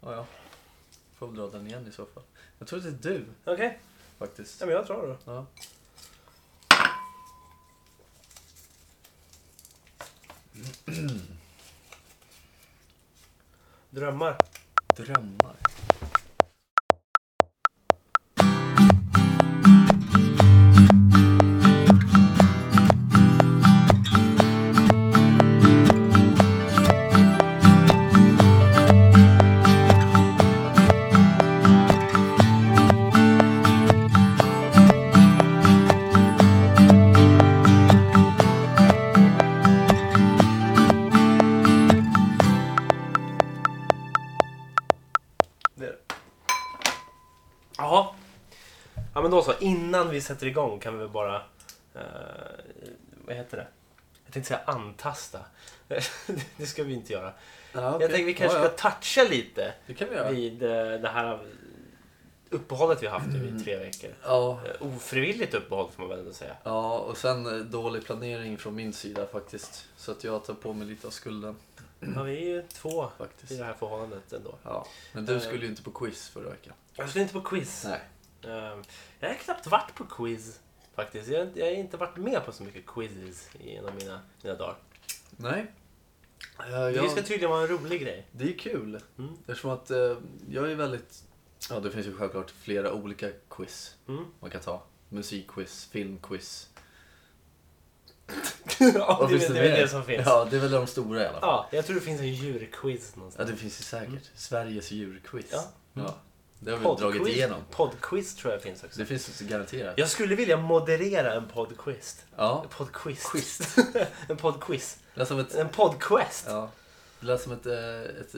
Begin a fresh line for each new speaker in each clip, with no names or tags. Ja, ja. Får väl dra den igen i så fall. Jag tror det är du
Okej,
faktiskt.
ja, men jag drar då.
Ja.
Drömmar.
Drömmar.
Det är det. Jaha. Ja men då så, innan vi sätter igång kan vi väl bara... eh, vad heter det? Jag tänkte säga antasta. det ska vi inte göra.
Ja,
Jag tänkte vi kanske
ja, ja.
ska toucha lite
Det kan vi göra.
vid eh, det här uppehållet vi har haft nu i tre veckor.
Ja.
Eh, Ofrivilligt uppehåll får man väl ändå säga.
ja, och sen eh, dålig planering från min sida faktiskt. Så att jag tar på mig lite av skulden
Ja, vi är ju två i
faktiskt.
det här förhållandet ändå.
Ja. Men du skulle ju inte på quiz förra veckan.
Jag skulle inte på quiz.
Eh. Nej.
Ehm, Jag har knappt varit på quiz faktiskt. Jag, jag har inte varit med på så mycket quizzes genom mina, mina dagar.
Nej. Eh,
Det ska
Jag,
tydligen vara en rolig grej.
det är kul.
Mm.
Eftersom att eh, jag är väldigt... Ja, det finns ju självklart flera olika quiz
Mm.
man kan ta. Musikquiz, filmquiz.
ja,
Vad
det,
finns
det,
det
är väl
mer?
det som finns. Ja.
Ja, det är väl de stora i alla fall.
jag tror det finns en djurquiz
Ja,
någonstans.
det finns ju säkert. Sveriges djurquiz.
Mm. Ja. Mm.
ja. Det har vi dragit igenom.
Poddquiz tror jag finns också.
Det finns också garanterat.
Jag skulle vilja moderera en poddquiz.
Ja.
En poddquiz. en poddquiz.
Det lät som ett,
En poddquest. Ja,
ja. det lät som ett, eh, ett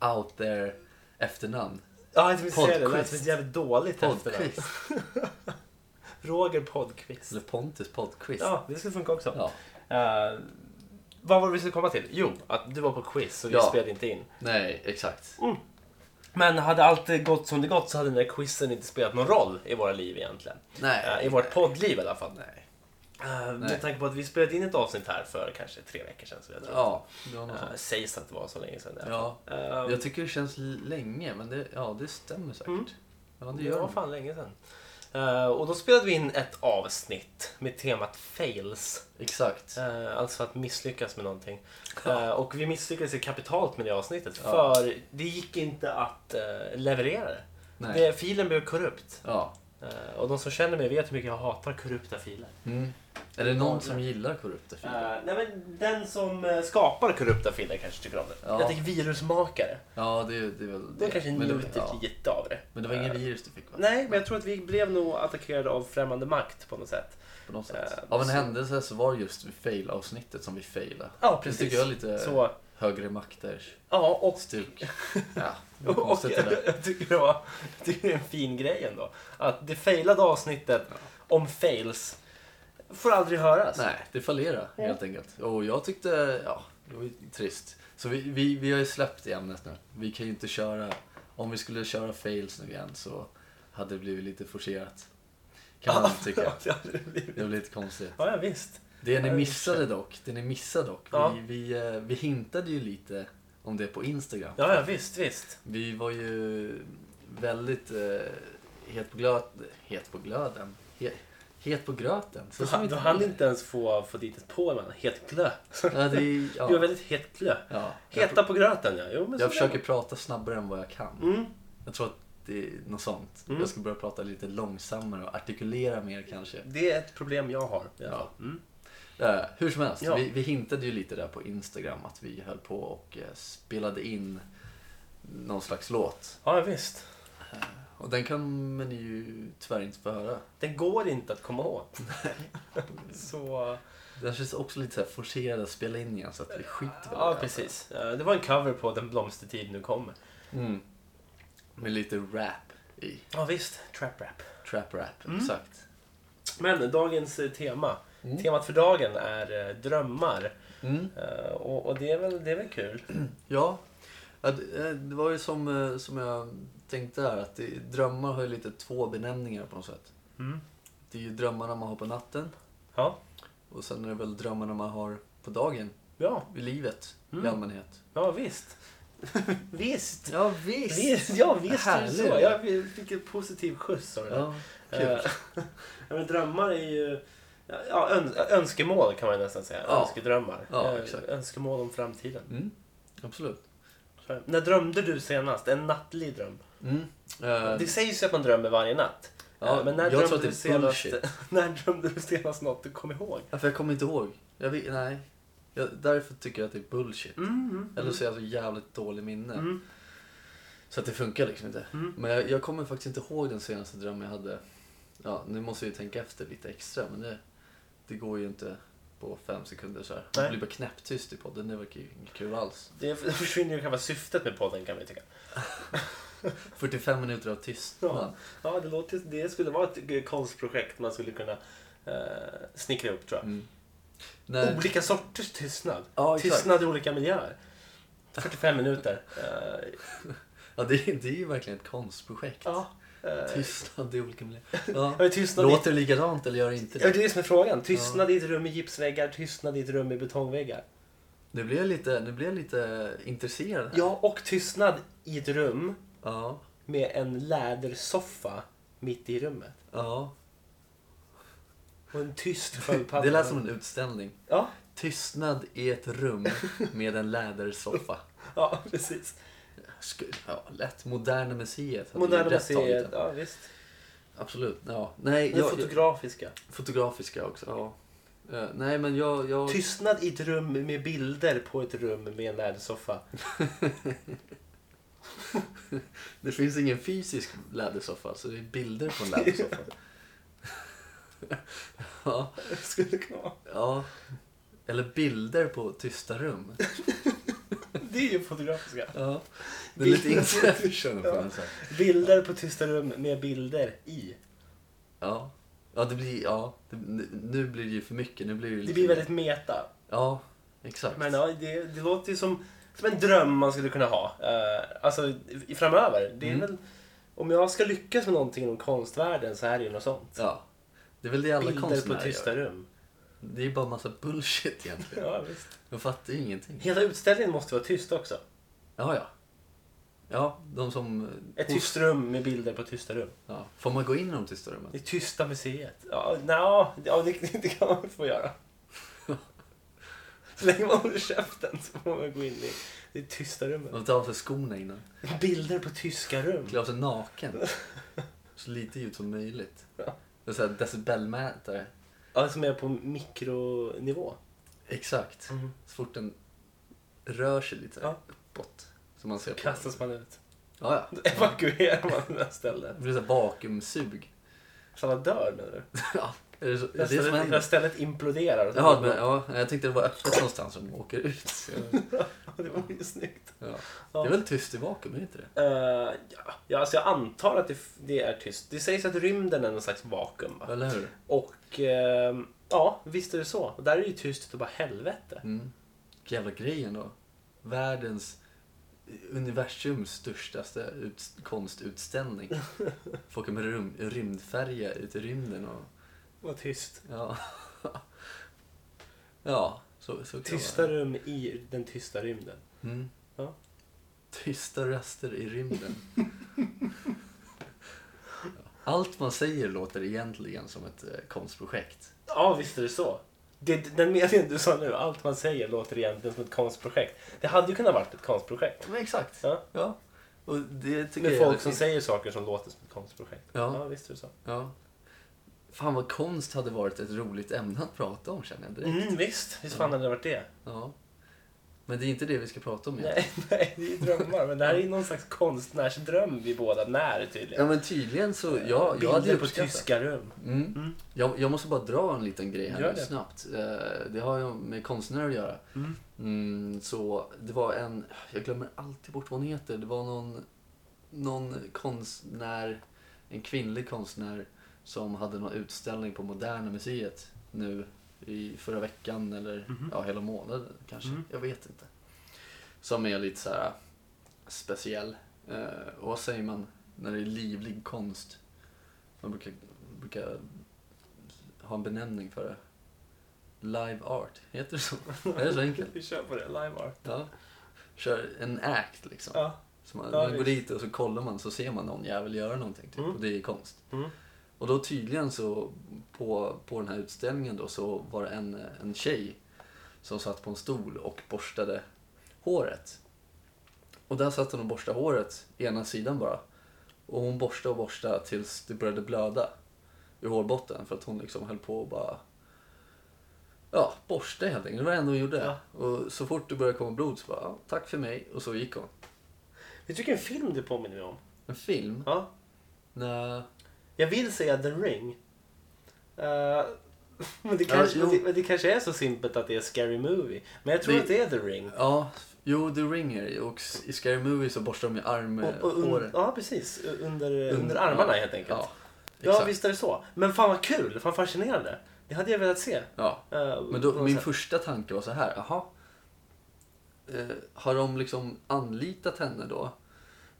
eh, out there efternamn.
jag tänkte säga det. Det lät som ett
Poddquist.
jävligt dåligt efternamn.
Poddquiz.
Roger Poddquist.
Eller Pontus Poddquiz.
Ja, det skulle funka också.
Ja.
Eh, vad var det vi skulle komma till? Jo, att du var på quiz och vi
Ja.
spelade inte in.
Nej, exakt.
Mm. Men hade allt det gått som det gått så hade den där quizen inte spelat någon roll i våra liv egentligen.
Nej.
Eh, I vårt poddliv i alla fall.
Nej.
Eh,
Nej.
med tanke på att vi spelade in ett avsnitt här för kanske tre veckor sedan. Så jag tror.
Ja, det var något
Eh,
sånt.
sägs att det var så länge sedan. i alla
Ja.
fall. Eh,
Jag tycker det känns länge, men det, ja, det stämmer säkert.
Mm.
Ja, det
Det var
gör det.
fan länge sedan. Eh, och då spelade vi in ett avsnitt med temat fails.
Exakt.
Eh, alltså att misslyckas med någonting. Eh, och vi misslyckades ju kapitalt med det avsnittet.
Ja.
För det gick inte att eh, leverera det.
Nej.
det. Filen blev korrupt.
Ja.
Eh, och de som känner mig vet hur mycket jag hatar korrupta filer.
Mm. Är det någon som gillar korrupta filmer?
Eh, nej men den som eh, skapar korrupta filer kanske tycker om det.
Ja.
Jag tänker virusmakare.
Ja, det, det är väl
De kanske
Men det-
njuter
ja.
lite av det.
Men det var ingen virus du fick va?
Nej, men jag tror att vi blev nog attackerade av främmande makt på något sätt.
På något sätt.
Eh,
Av en
så-
händelse så var det just fail-avsnittet som vi failade.
Ja,
Det tycker jag är lite
Så,
högre makters
ja, och
stuk. Ja, det var
Och, och
konstigt det
jag,
där.
jag tycker det var jag tycker det är en fin grej ändå. Att det failade avsnittet om fails får aldrig höras.
Nej, det fallerade helt enkelt. Och jag tyckte, ja, det var ju trist. Så vi, vi, vi har ju släppt i ämnet nu. Vi kan ju inte köra, om vi skulle köra fails nu igen så hade det blivit lite forcerat. Kan man tycka.
Det har aldrig blivit.
Det blir lite konstigt.
Ja, ja, visst.
Det ni
Ja, det är
missade dock, det ni missade dock.
Ja.
Vi, vi, eh, vi hintade ju lite om det på Instagram.
Ja, ja, visst, visst.
Vi var ju väldigt eh, het på glöden. Het på glöden? He, het på gröten?
Du,
Så som
han, du
inte-
hann inte ens få, få dit ett på man. Het glö.
Ja, det är, ja.
Du är väldigt het glö.
ja. Jag,
Heta på gröten, ja. Jo,
jag,
men så är det.
försöker prata snabbare än vad jag kan.
Mm.
Jag tror att det är något sånt.
Mm.
Jag ska börja prata lite långsammare och artikulera mer kanske.
Det är ett problem jag har. i alla
Ja.
fall. Mm.
Eh, hur som helst,
Ja.
vi, vi hintade ju lite där på Instagram att vi höll på och eh, spelade in någon slags låt. Eh,
Ja, ja, visst.
Och den kan man ju tyvärr inte få höra.
Det går inte att komma åt. så...
Den känns också lite så här forcerad att spela in igen så att vi skiter väl i
Ja,
det.
precis. Eh, Det var en cover på Den blomstertid nu kommer.
Mm. Med lite rap i.
Ja, visst. Trap rap.
Trap rap,
Mm.
exakt.
Men dagens eh, tema.
Mm.
Temat för dagen är eh, drömmar.
Mm.
Eh, och och det, är väl, det är väl kul.
Ja. Ja, det eh, det var ju som, eh, som jag tänkte här att det, drömmar har ju lite två benämningar på något sätt.
Mm.
Det är ju drömmarna man har på natten
Ja.
och sen är det väl drömmarna man har på dagen,
Ja,
i livet
Mm.
i allmänhet.
ja visst. Visst!
Ja, visst.
visst ja, visst är det
Härligt.
så. Jag fick en positiv skjuts av det där.
Ja, kul.
Eh, ja, men drömmar är ju... Ja, ön, önskemål kan man ju nästan säga.
Ja.
Önskedrömmar.
Ja,
Eh,
exakt.
Önskemål om framtiden.
Mm, absolut.
Så här. När drömde du senast? En nattlig dröm?
Mm. Eh,
Det sägs ju att man drömmer varje natt.
ja,
Eh, men när
jag
drömde
tror att det
du
är
senast,
bullshit.
När drömde du senast något du kom ihåg?
Ja, för jag kommer inte ihåg. Jag vet, nej. Jag, därför tycker jag att det är bullshit.
Mm, mm,
Eller så är jag så jävligt dålig minne.
mm.
Så att det funkar liksom inte.
Mm.
Men jag, jag kommer faktiskt inte ihåg den senaste drömmen jag hade. Ja, nu måste jag ju tänka efter lite extra men det, det går ju inte på fem sekunder så här.
Nej.
Det blir bara knäpptyst i podden. Det verkar ju inte kul alls.
Det försvinner ju själva syftet med podden kan vi tycka.
45 minuter av tystnad.
Ja, det, låter, det skulle vara ett eh, konstprojekt man skulle kunna eh, snickra upp tror jag.
Mm. När,
Olika sorters tystnad.
ja, exakt.
Tystnad i olika miljöer. 45 minuter. Eh,
Ja, det, är- det är ju verkligen ett konstprojekt.
ja. eh,
Tystnad i olika miljöer. Ja.
ja, men tystnad i,
Låter det likadant eller gör det inte
ja, det är
det?
det som är frågan. Tystnad i ett rum med gipsväggar, tystnad i ett rum med betongväggar.
Nu blir jag lite, nu blir jag lite intresserad här.
Ja, och tystnad i ett rum
Ja.
med en lädersoffa mitt i rummet.
ja.
Och en tyst sköldpadda.
Det lät som en utställning.
Ja,
Tystnad i ett rum med en lädersoffa.
ja precis.
Sk- Ja, lätt. Moderna Museet. hade ju
Moderna
rätt tagit
museet.
den.
Ja, visst.
Absolut. Ja. Nej,
Det är
jag,
fotografiska.
fotografiska också. Ja. Eh, nej, men jag... jag
Tystnad i ett rum med bilder på ett rum med en lädersoffa.
det finns ingen fysisk lädersoffa, så det är bilder på en lädersoffa. ja,
Skulle kunna vara.
ja. Eller bilder på tysta rum.
Det är ju fotografiska.
Ja. Det är lite
Bilder på tysta-
inception på
Ja.
något sätt.
Bilder på tysta rum med bilder i.
Ja. Ja, det blir... Ja. Det, nu- nu blir det ju för mycket. Nu blir det, ju
Det
lite-
blir väldigt meta.
Ja, exakt.
Men ja, det, det låter ju som, som en dröm man skulle kunna ha. Eh, alltså i- i, framöver. Det är
Mm.
väl, om jag ska lyckas med någonting inom konstvärlden så här är det ju något sånt.
Ja. Det är väl det alla
Bilder på
konstnärer gör.
tysta rum.
Det är bara massa bullshit egentligen.
Ja, visst.
De fattar ju ingenting.
Hela utställningen måste vara tyst också.
Ja, ja. Ja, de som...
Ett tyst rum med bilder på tysta rum.
Ja. Får man gå in i de tysta
Det
rummen?
tysta museet. Ja, nja, ja det, det kan man få göra. Så länge man håller käften så får man gå in i det tysta rummet.
De tar av sig skorna innan.
Mm. Bilder på tyska rum.
Klär av sig naken. Så lite ljud som möjligt.
Ja.
Det är så här decibelmätare.
Ja, som är på mikronivå.
Exakt. Så fort den rör sig lite
Mm. Ja.
uppåt. Så man ser på
Kastas man ut.
Ja,
Då
ja.
evakuerar man det här stället.
Det blir så här vakuumsug.
Så alla dör nu.
ja. Är det, så,
Det
är det som
stället,
händer?
det stället imploderar. och så-
Ja, men, ja, jag tänkte det var öppet någonstans som åker ut.
Det var ju snyggt.
Ja. Det
Ja.
är väl tyst i vakuum, är det inte det?
Eh, ja, ja, alltså jag antar att det, f- det är tyst. Det sägs att rymden är någon slags vakuum. Va?
Eller hur?
Och ehm, ja, visst är det så. Och där är det ju tyst och bara helvete.
Mm. Jävla grejen då. Världens, eh, universums störstaste ut, konstutställning. Folk med rum, rymdfärja ute i rymden och...
Och tyst.
Ja. Ja, så, så kan
Tysta
det
rum i den tysta rymden.
vara. Mm.
Ja.
Tysta röster i rymden. Allt man säger låter egentligen som ett eh, konstprojekt.
Ja, visst är det så. Det, den meningen du sa nu, allt man säger låter egentligen som ett konstprojekt. Det hade ju kunnat varit ett konstprojekt.
Men exakt.
Ja.
Ja. Och det tycker
Med
jag
folk som säger saker som låter som ett konstprojekt.
Ja.
ja visst är det så.
Ja. Fan vad konst hade varit ett roligt ämne att prata om känner jag direkt.
Mm, visst, visst fan hade det varit det?
Ja. Men det är inte det vi ska prata om egentligen.
Nej, nej, det är ju drömmar. Men det här är ju någon slags konstnärsdröm vi båda när
Ja
tydligen.
men tydligen så, ja, jag hade
Bilder
ju
på
uppskattat.
tyska rum.
Mm.
Mm.
Jag, jag måste bara dra en liten grej
Gör
här nu
det.
snabbt. Eh, Det har ju med konstnärer att göra.
Mm.
Mm, så det var en, jag glömmer alltid bort vad hon heter. Det var någon, någon konstnär, en kvinnlig konstnär som hade någon utställning på Moderna Museet nu i förra veckan eller
Mhm.
ja, hela månaden kanske.
Mm.
Jag vet inte. Som är lite så här speciell. Eh, och vad säger man när det är livlig konst? Man brukar, brukar ha en benämning för det. Live art, heter det så? Är det så enkelt?
Vi kör på det, live art.
Ja. kör en act liksom.
Ja.
Så man,
Ja,
man går
visst.
dit och så kollar man så ser man någon jävel göra någonting. Typ.
Mm.
Och det är konst.
Mm.
Och då tydligen så på, på den här utställningen då så var det en, en tjej som satt på en stol och borstade håret. Och där satt hon och borstade håret ena sidan bara. Och hon borstade och borstade tills det började blöda ur hårbotten för att hon liksom höll på och bara Ja, borsta helt enkelt. Det var det enda hon gjorde. Och så fort det började komma blod så bara, "Ja, tack för mig. Och så gick hon.
Vet du vilken film det påminner mig om?
En film?
Ja.
Nej.
Jag vill säga The Ring. Eh, men, det kanske,
jo.
men, det, men det kanske är så simpelt att det är Scary Movie. Men jag tror
Det-
att det är The Ring.
Ja, jo, The Ringer. Och s- i Scary Movie så borstar de ju
Och, och, un,
armhåret.
ja, precis. Under, under armarna helt enkelt.
Ja,
Ja,
exakt.
visst är det så. Men fan vad kul, fan fascinerande. Det hade jag velat se.
Ja.
Eh,
Men
på
då,
något
min
sätt.
första tanke var så här, aha. Eh, har de liksom anlitat henne då?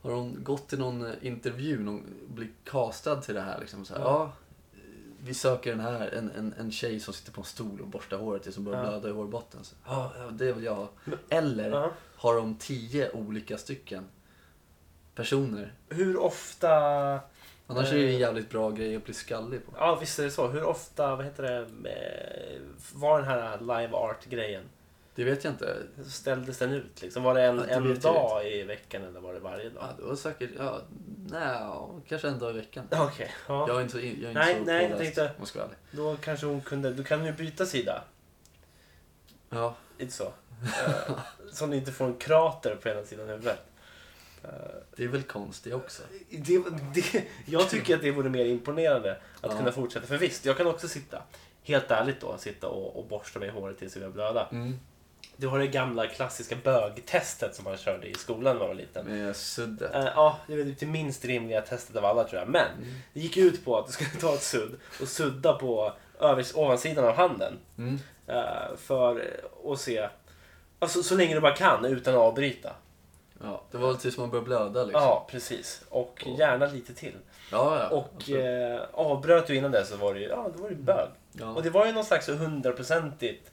Har hon gått till någon eh, intervju, någon, blivit castad till det här liksom? Så här,
Ja.
ja. eh, vi söker den här, en, en, en tjej som sitter på en stol och borstar håret tills hon börjar
Ja.
blöda i hårbotten. Så, ja, ja, det vill jag ha. Eller
Ja.
har de tio olika stycken personer.
Hur ofta...
Annars är det ju
Eh.
en jävligt bra grej att bli skallig på.
Ja, visst är det så. Hur ofta, vad heter det, eh, var den här live art-grejen?
Det vet jag inte.
Ställdes den ut liksom? Var det en,
Ja, det
en
vet jag
dag i veckan eller var det varje dag?
Ja, det var säkert, ja, nej, kanske en dag i veckan.
Okej, ja.
Jag är inte så, jag är inte
Nej,
så
nej, jag
påläst,
tänkte-
om jag ska vara ärlig.
Då kanske hon kunde, då kan hon ju byta sida.
Ja,
Lite så. Eh, så hon inte får en krater på ena sidan huvudet. Eh,
det är väl konst det också.
Det, det, jag tycker att det vore mer imponerande att
Ja.
kunna fortsätta. För visst, jag kan också sitta, helt ärligt då, sitta och, och borsta mig i håret tills jag börjar blöda.
Mm.
Du har det gamla klassiska bögtestet som man körde i skolan när man var liten.
Med suddet.
Eh, Ja, det är det minst rimliga testet av alla tror jag. Men
Mm.
det gick ut på att du skulle ta ett sudd och sudda på övers, ovansidan av handen.
Mm.
eh, för att se, alltså, så länge du bara kan utan att avbryta.
Ja, det var väl tills man började blöda liksom.
Ja, precis. Och gärna lite till.
Ja, ja.
Och
absolut.
eh, avbröt du innan det så var det ju, ja, då var det ju bög.
ja.
Och det var ju någon slags hundraprocentigt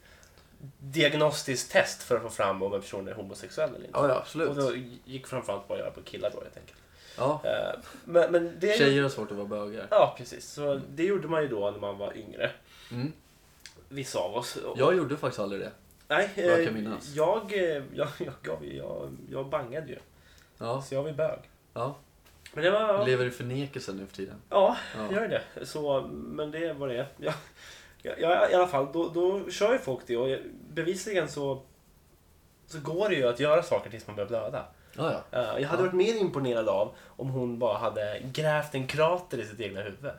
diagnostiskt test för att få fram om en person är homosexuell eller inte.
ja, ja,
Och då
absolut.
gick framförallt bara att göra på killar då helt enkelt.
Ja.
Eh, Men, men det...
Tjejer har svårt att vara bögar.
Ja, precis. Så det gjorde man ju då när man var yngre.
Mm.
Vissa av oss. Och-
Jag gjorde faktiskt aldrig det.
Nej, eh,
jag kan minnas.
Jag, eh, jag, jag, gav ju- jag, jag bangade ju.
Ja,
Så jag var ju bög.
ja.
Men det
Jag
var...
lever i förnekelse nu för tiden.
Ja,
Ja.
gör det. Så, men det var det jag, jag, jag, I alla fall, då, då kör ju folk det och jag, bevisligen så, så går det ju att göra saker tills man börjar blöda.
Ja, ja.
Eh, jag hade
Ja.
varit mer imponerad av om hon bara hade grävt en krater i sitt egna huvud.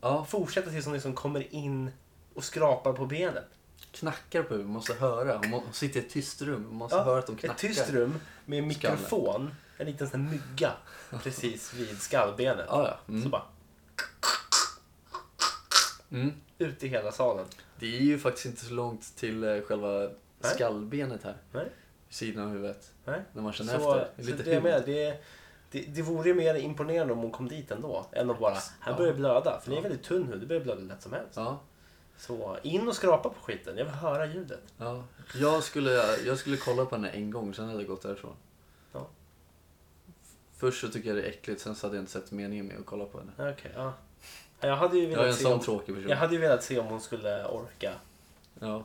ja.
Fortsätta tills hon liksom kommer in och skrapar på benet.
Knackar på huvudet, man måste höra. Hon må- hon sitter i ett tyst rum, man måste
Ja,
höra att de knackar.
Ett tyst rum med mikrofon, en liten sån här mygga precis vid skallbenet.
Ja, ja.
Så
Mm.
bara
Mm.
ut i hela salen.
Det är ju faktiskt inte så långt till eh, själva
Nej.
skallbenet här.
Nej.
Vid sidan av huvudet.
Nej.
När man känner
Så,
efter. Det är
så
lite
det, jag
hud.
menar, det, det, det vore ju mer imponerande om hon kom dit ändå. Än att bara, här
Ja.
börjar det blöda. För det är
Ja.
väldigt tunn hud, det börjar blöda lätt som helst.
Ja,
Så in och skrapa på skiten, jag vill höra ljudet.
ja. Jag, skulle, jag skulle kolla på henne en gång, sen hade jag gått därifrån.
Ja.
Först så tycker jag det är äckligt, sen så hade jag inte sett meningen med att kolla på henne.
Okej, ja. Jag hade, ju
Jag är en
velat se
sån
om,
tråkig person.
jag hade ju velat se om hon skulle orka.
Ja,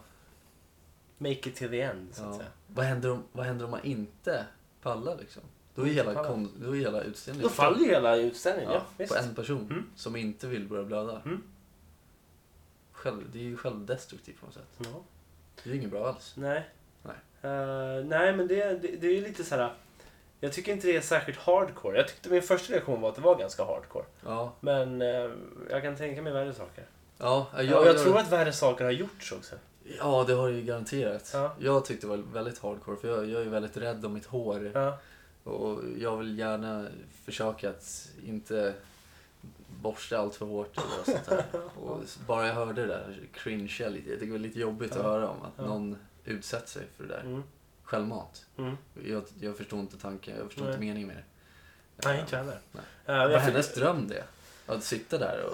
Make it till the end, så att
ja.
säga.
Vad, händer om, vad händer om man inte pallar liksom? Då är
Inte
hela,
pallar.
kon, då är hela utställningen
Då faller ju hela utställningen, ja.
ja,
visst.
på en person
Mm.
som inte vill börja blöda.
Mm.
Själv, det är ju självdestruktivt på något sätt.
Ja.
Det är ju inget bra alls.
Nej.
Nej.
Eh, nej, men det, det, det är ju lite så här. Jag tycker inte det är särskilt hardcore. Jag tyckte min första reaktion var att det var ganska hardcore.
Ja,
Men eh, jag kan tänka mig värre saker.
ja, jag,
Ja, och jag tror att värre saker har gjorts också.
Ja, det har det ju garanterat.
Ja.
Jag tyckte det var väldigt hardcore för jag, jag är väldigt rädd om mitt hår.
Ja.
Och jag vill gärna försöka att inte borsta allt för hårt eller något sånt där. Och s- bara jag hörde det där cringe jag lite. Jag tycker det var lite jobbigt
Ja.
att höra om att
Ja.
någon utsätter sig för det där.
Mm.
Självmant.
Mm.
Jag, jag förstår inte tanken, jag förstår
Nej.
inte meningen med det. Eh,
Nej, inte jag heller.
Nej.
Eh, jag
Var
fick-
hennes dröm det? Att sitta där och...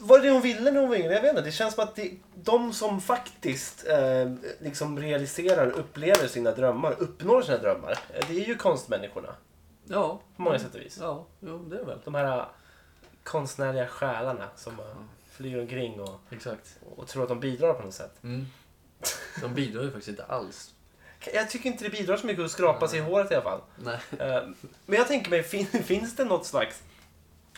Var det hon ville när hon var yngre? Jag vet inte. Det känns som att det, de som faktiskt eh, liksom realiserar, upplever sina drömmar, uppnår sina drömmar. eh, Det är ju konstmänniskorna.
Ja.
På många sätt och vis.
Ja, jo, det är väl.
De här eh, konstnärliga själarna som bara flyr omkring och,
Exakt.
och tror att de bidrar på något sätt.
Mm. De bidrar ju faktiskt inte alls.
Jag tycker inte det bidrar så mycket att skrapa sig i håret i alla fall.
Nej.
Eh, Men jag tänker mig, fin, finns det något slags...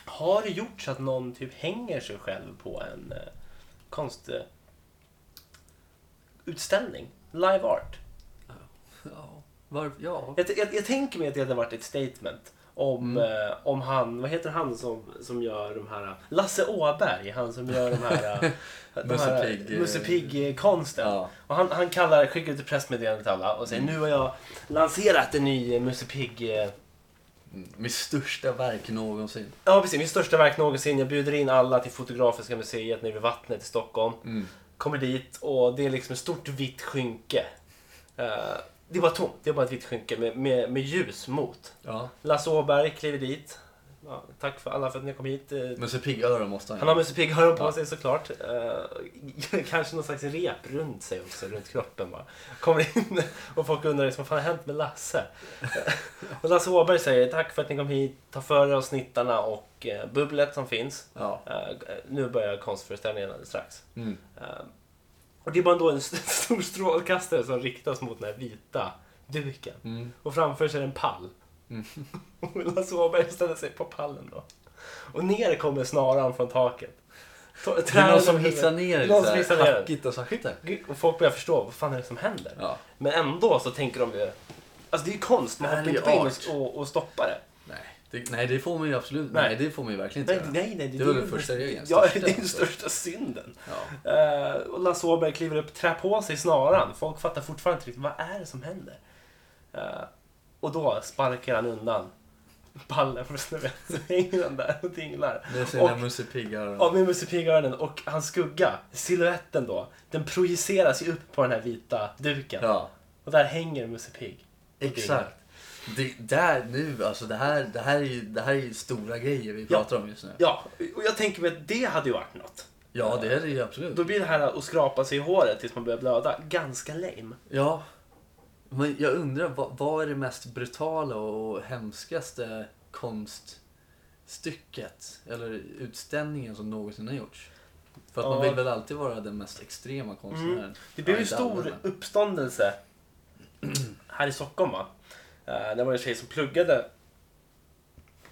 Har det gjorts att någon typ hänger sig själv på en eh, konst... Eh, utställning? Live art?
Ja. Var, ja.
Jag, jag, jag tänker mig att det hade varit ett statement om,
Mm.
eh, om han, vad heter han som, som gör de här... Lasse Åberg, han som gör de här... eh, de
Musse
här
Pigg, eh,
Musse Pigg-konsten.
Ja.
Och han, han kallar, skickar ut ett pressmeddelande till alla och säger nu har jag lanserat en ny eh, Musse Pigg... eh,
Mm. Mitt största verk någonsin.
Ja, precis. Mitt största verk någonsin. Jag bjuder in alla till Fotografiska museet nere vid vattnet i Stockholm.
Mm.
Kommer dit och det är liksom ett stort vitt skynke. Eh, det är bara tomt. Det är bara ett vitt skynke med, med, med ljus mot.
Ja.
Lasse Åberg kliver dit. Ja, tack för alla för att ni kom hit. Eh,
Musse Pigg-öron måste
Han
han
har
ju.
Musse Pigg-öron på
Ja.
sig såklart. Eh, kanske någon slags rep runt sig också, runt kroppen bara. Kommer in och folk undrar liksom, vad fan har hänt med Lasse? Eh, och Lasse Åberg säger, tack för att ni kom hit, ta för er av snittarna och eh, bubblet som finns.
Ja.
Eh, nu börjar konstföreställningen alldeles strax.
Mm.
Eh, och det är bara då en st- stor strålkastare som riktas mot den här vita duken.
Mm.
Och framför sig är en pall. Och Lasse Åberg ställer sig på pallen då. Och ner kommer snaran från taket. Ta-
Det är
träden
någon som
över-
hissar ner det
Någon
så
som
här
hissar ner den.
hackigt och sakta.
Gud, Och folk börjar förstå, vad fan är det som händer?
Ja.
Men ändå så tänker de ju... Alltså det är ju konst, man
Det här
hoppar
är
inte
ju
in
art.
och- och, och stoppar det.
Nej. Det, nej, det får man ju absolut
Nej.
nej. det får man ju verkligen inte
Nej,
göra.
nej, nej.
Det var
är
väl
ju-
första regeln.
Ja,
Största,
det är den
alltså.
största synden.
Ja.
Eh, och Lasse Åberg kliver upp, trär på sig snaran. Folk fattar fortfarande inte riktigt, vad är det som händer? Eh, och då sparkar han undan ballen från snubben. Så hänger han där och dinglar.
Det är så
Och-
jävla Musse Pigg-öron.
Av med Musse Pigg-öronen och hans skugga, siluetten då, den projiceras ju upp på den här vita duken.
Ja.
Och där hänger Musse Pigg. Och dinglar.
Exakt. Det, där nu, alltså det här, det här, är, ju, det här är ju stora grejer vi
Ja.
pratar om just nu.
Ja, och jag tänker mig att det hade ju varit något.
Ja, det är det ju absolut.
Då blir det här att skrapa sig i håret tills man börjar blöda ganska lame.
Ja. Men jag undrar, vad, vad är det mest brutala och hemskaste konststycket eller utställningen som någonsin har gjorts? För att man
Ja.
vill väl alltid vara den mest extrema konstnären.
Mm. Det blev
Ja,
ju
inte alla,
stor
men-
uppståndelse här i Stockholm va? Eh, Det var en tjej som pluggade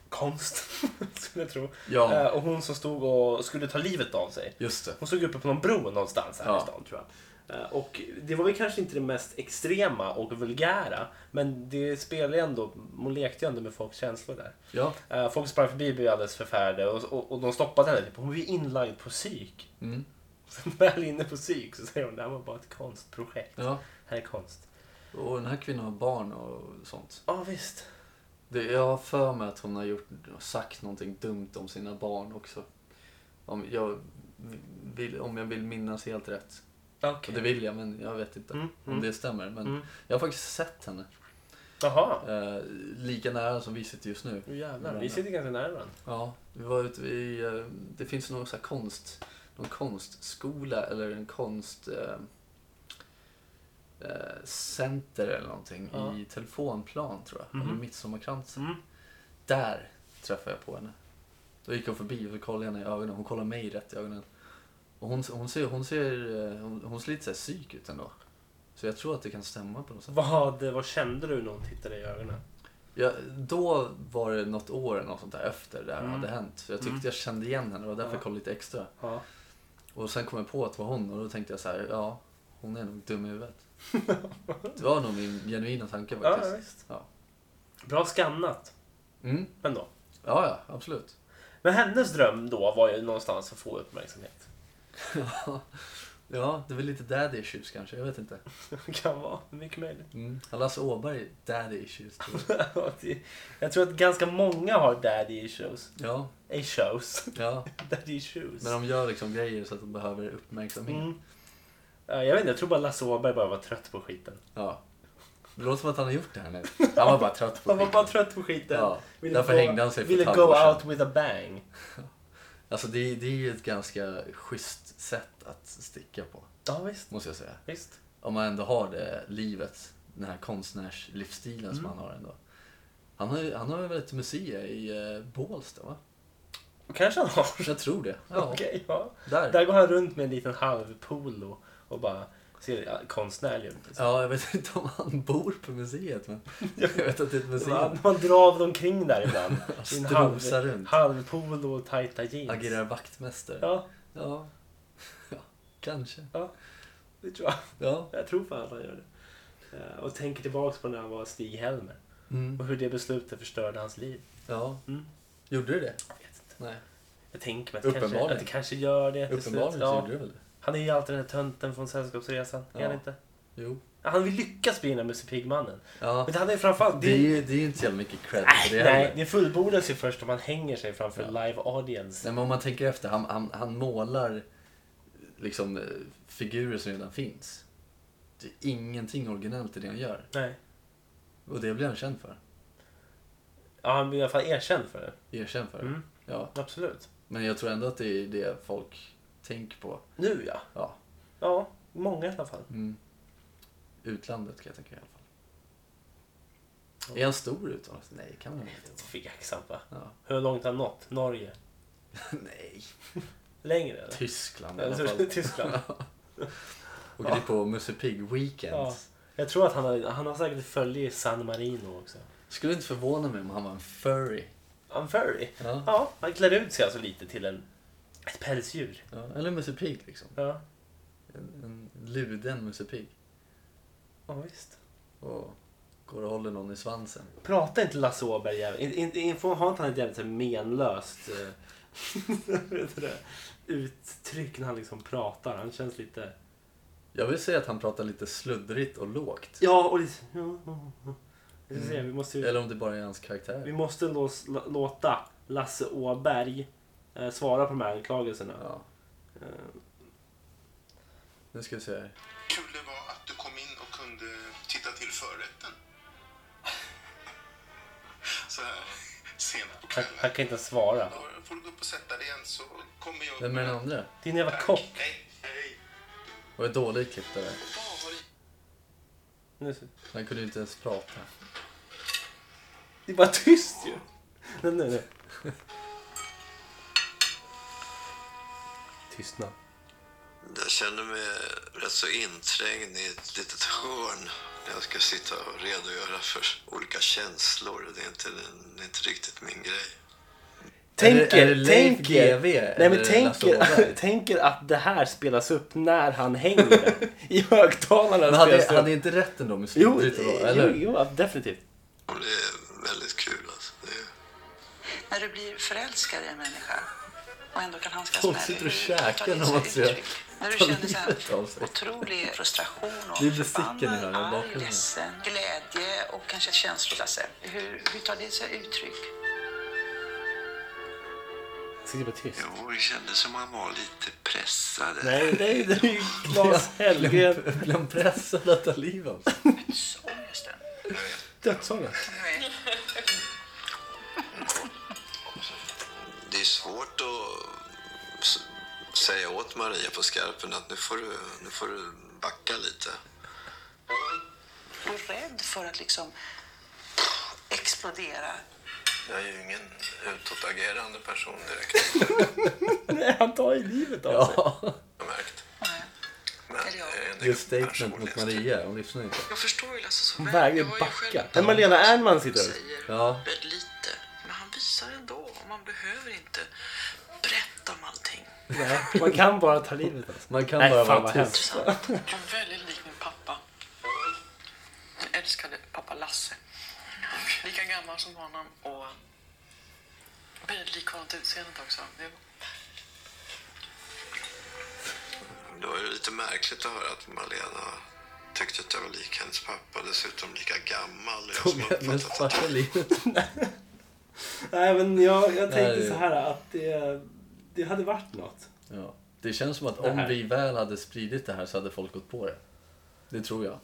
konst, skulle jag tro.
Ja.
Eh, Och hon som stod och skulle ta livet av sig.
Just det.
Hon stod uppe på någon bro någonstans här i
Ja.
stan tror jag. Eh, Och det var väl kanske inte det mest extrema och vulgära, men det spelade ju ändå, hon lekte ju ändå med folks känslor där.
Ja.
Eh, Folk sprang förbi och blev alldeles förfärade och, och, och de stoppade henne. Typ. Hon var ju inlagd på psyk.
Mm.
Sen väl inne på psyk så säger hon det här var bara ett konstprojekt.
ja.
Här är konst.
Och den här kvinnan har barn och sånt.
Ja visst.
Det, jag har för mig att hon har gjort, sagt någonting dumt om sina barn också. Om jag vill, om jag vill minnas helt rätt. Och
Okej.
det vill jag, men jag vet inte
Mm,
om
mm.
det stämmer. Men
Mm.
jag har faktiskt sett henne.
Jaha.
Eh, lika nära som vi sitter just nu.
Oh, jävlar, vi sitter ganska nära varandra.
Ja, vi var ute i... Eh, det finns någon, så här konst, någon konstskola eller en konst... Eh, eh, center eller någonting
Ja.
i telefonplan tror jag.
Mhm.
Eller midsommarkransen.
Mm.
Där träffade jag på henne. Då gick hon förbi och så kollade jag henne i ögonen. Hon kollade mig rätt i ögonen. Och hon, hon ser, hon ser, eh, hon, hon ser lite så här psyk ut ändå. Så jag tror att det kan stämma på något sätt.
Vad, vad kände du när hon tittade i ögonen?
Ja, då var det något år eller något sånt där efter det här
Mm.
hade hänt. Så jag tyckte
Mm.
jag kände igen henne och därför
Ja.
jag kollade lite extra.
Ja.
Och sen kom jag på att det var hon och då tänkte jag så här, ja, hon är nog dum i huvudet. det var nog min genuina tanke
Ja, ja,
faktiskt.
visst.
Ja.
Bra skannat
Mm.
ändå.
ja, ja, absolut.
Men hennes dröm då var ju någonstans att få uppmärksamhet.
ja, det är väl lite daddy issues kanske, jag vet inte.
kan vara, mycket möjligt.
Mm. Lasse Åberg, daddy issues. tror jag.
Ja, det- jag tror att ganska många har daddy issues.
ja,
Issues.
ja,
Daddy issues.
men de gör liksom grejer så att de behöver uppmärksamhet.
Mm. Ja, Jag vet inte, jag tror bara Lasse Åberg bara var trött på skiten.
Ja. Det låter som att han har gjort det här nu. Han var bara trött på
Han var
skiten.
bara trött på skiten.
Ja,
Ville
därför
gå-
hängde han sig för
Ville
ett
go
halvår sedan.
out with a bang.
Alltså det, det är ju ett ganska schysst sätt att sticka på,
Ja, visst.
måste jag säga.
Visst.
Om man ändå har det livet, den här konstnärslivsstilen som
Mm.
han har ändå. Han har, ju- han har väl ett museum i eh, Bålsta va?
Kanske han har.
Jag tror det. Ja,
Okej, ja.
där.
Där går han runt med en liten halv polo och bara ser ja, konstnärlig ut. liksom.
Ja, jag vet inte om han bor på museet men jag vet att det är ett museum.
Man, man drar omkring där ibland. I en halv,
Strosar runt.
halv polo och tajta jeans.
Agerar vaktmästare.
Ja,
Ja. ja. Kanske.
det tror jag.
Ja.
Jag tror fan att han gör det. Eh, Och tänker tillbaks på när han var Stig-Helmer.
Mm.
Och hur det beslutet förstörde hans liv.
Ja.
Mm.
Gjorde du det?
Jag vet inte.
Nej.
Jag tänker mig att, det kanske,
Uppenbarligen.
att det kanske gör det till slut.
Uppenbarligen så
Ja.
gjorde du väl det?
Han är ju alltid den här tönten från Sällskapsresan. Är
Ja.
han inte?
Jo.
Han vill lyckas bli den där Musse Pigg-mannen.
Ja.
Men han är ju framförallt...
Det är ju det är ju inte så jävla mycket cred för det
Nej,
heller.
det fullbordas ju först om man hänger sig framför
Ja.
live audience.
Nej, men om man tänker efter, han, han, han målar liksom eh, figurer som redan finns. Det är ingenting originellt i det han gör.
Nej.
Och det blir han känd för.
Ja, han blir i alla fall erkänd för det.
Erkänd för.
Mm,
Ja.
absolut.
Men jag tror ändå att det är det folk tänker på.
Nu ja.
Ja.
Ja, många i alla fall.
Mm. Utlandet kan jag tänka i alla fall.
Ja.
Är han stor utomlands? Nej, kan han inte vara.
Tveksamt va?
Ja.
Hur långt har han nått? Norge?
Nej.
Längre eller?
Tyskland i alla fall.
Eller Tyskland.
Och det är på Musse Pigg Weekend.
Ja. Jag tror att han har, han har säkert följe i San Marino också.
Skulle inte förvåna mig om han var en furry.
I'm very.
Ja.
Ja, han klär ut sig alltså lite till en, ett pälsdjur.
Ja, eller Musse Pigg liksom.
Ja,
En, en luden Musse Pigg.
ja visst.
Och går och håller någon i svansen.
Prata inte Lasse Åberg jävligt. In, in, in, får- har inte han ett jävligt så här menlöst eh, vet du det? uttryck när han liksom pratar? Han känns lite...
Jag vill säga att han pratar lite sluddrigt och lågt.
Ja, och lite... Ja, ja, ja. Vi ska se,
Mm.
vi måste ju...
Eller om det bara är hans
Vi
karaktär.
måste ändå s- låta Lasse Åberg eh, svara på de här anklagelserna.
Ja,
Eh,
nu ska vi se här.
kul det var att du kom in och kunde titta till förrätten. Så här sent på
han,
kvällen.
han kan inte ens svara.
Då får du gå upp och sätta dig igen så kommer jag upp.
Vem är den
med-
andra?
Din jävla
Tack.
kock.
Hej, hej.
Det var ett dåligt klipp det där.
Vad har du-
Nu,
Han kunde ju inte ens prata.
det är bara tyst ju. Nej, nej, nej. Tystnad.
Jag känner mig rätt så inträngd i ett litet hörn där jag ska sitta och redogöra för olika känslor. Det är inte, det är inte riktigt min grej.
Tänk
Är det- är det
er,
Leif
tänk er.
GV eller
Nej men
Lasse
tänk er,
Åberg?
tänk er att det här spelas upp när han hänger. I högtalarna
Men hade,
spelas det upp.
hade inte rätten då med
Jo,
sluddrigt och lågt?
jo,
Eller?
jo, definitivt.
Och det är väldigt kul alltså. Det är...
När du blir förälskad i en människa och ändå kan handskas
Hon
med
sitter
det.
och käkar
Ta
när
sig
man ser
uttryck. När du
ta
känner så
livet av
här
sig.
otrolig frustration och
Det är besticken i den här
förbannad, arg,
bakgrunden.
ledsen, glädje och kanske känsloklasse. Hur, hur tar det sig uttryck?
Sitter bara tyst.
Jo, det kändes som man var lite pressad.
Nej, nej, det är ju Claes Hellgren.
Blir han pressad att ta livet av sig?
Ångesten.
Dödsångest.
Det är svårt att s- säga åt Maria på skarpen att nu får du, nu får du backa lite.
Du är rädd för att liksom explodera.
Jag är ju ingen utåtagerande person direkt,
Nej, han tar ju livet av sig.
Ja,
har jag märkt.
Nej.
Men
Eller ja.
jag är en
just
egen
statement mot
personlighet.
Maria. Hon lyssnar inte.
Jag förstår ju Lasse så
Han vägrar backa. Men Malena Ernman sitter där.
Ja.
väldigt lite. Men han visar ändå. Man behöver inte berätta om allting.
Nej, Man kan bara ta livet av sig.
Man kan
Nej,
bara
fan
vara
vad
tyst.
hemskt.
Han är väldigt lik min pappa. Min älskade pappa Lasse. Lika gammal som honom och väldigt lik honom till utseendet också. Det-
Det var ju lite märkligt att höra att Malena tyckte att jag var lik hennes pappa. Dessutom lika gammal. Jag som
Men
uppfattat att
svarta livet.
Nej, men jag, jag tänkte
Nej.
så här att det, det hade varit något.
Ja. Det känns som att
Det
om
här.
vi väl hade spridit det här så hade folk gått på det. Det tror jag.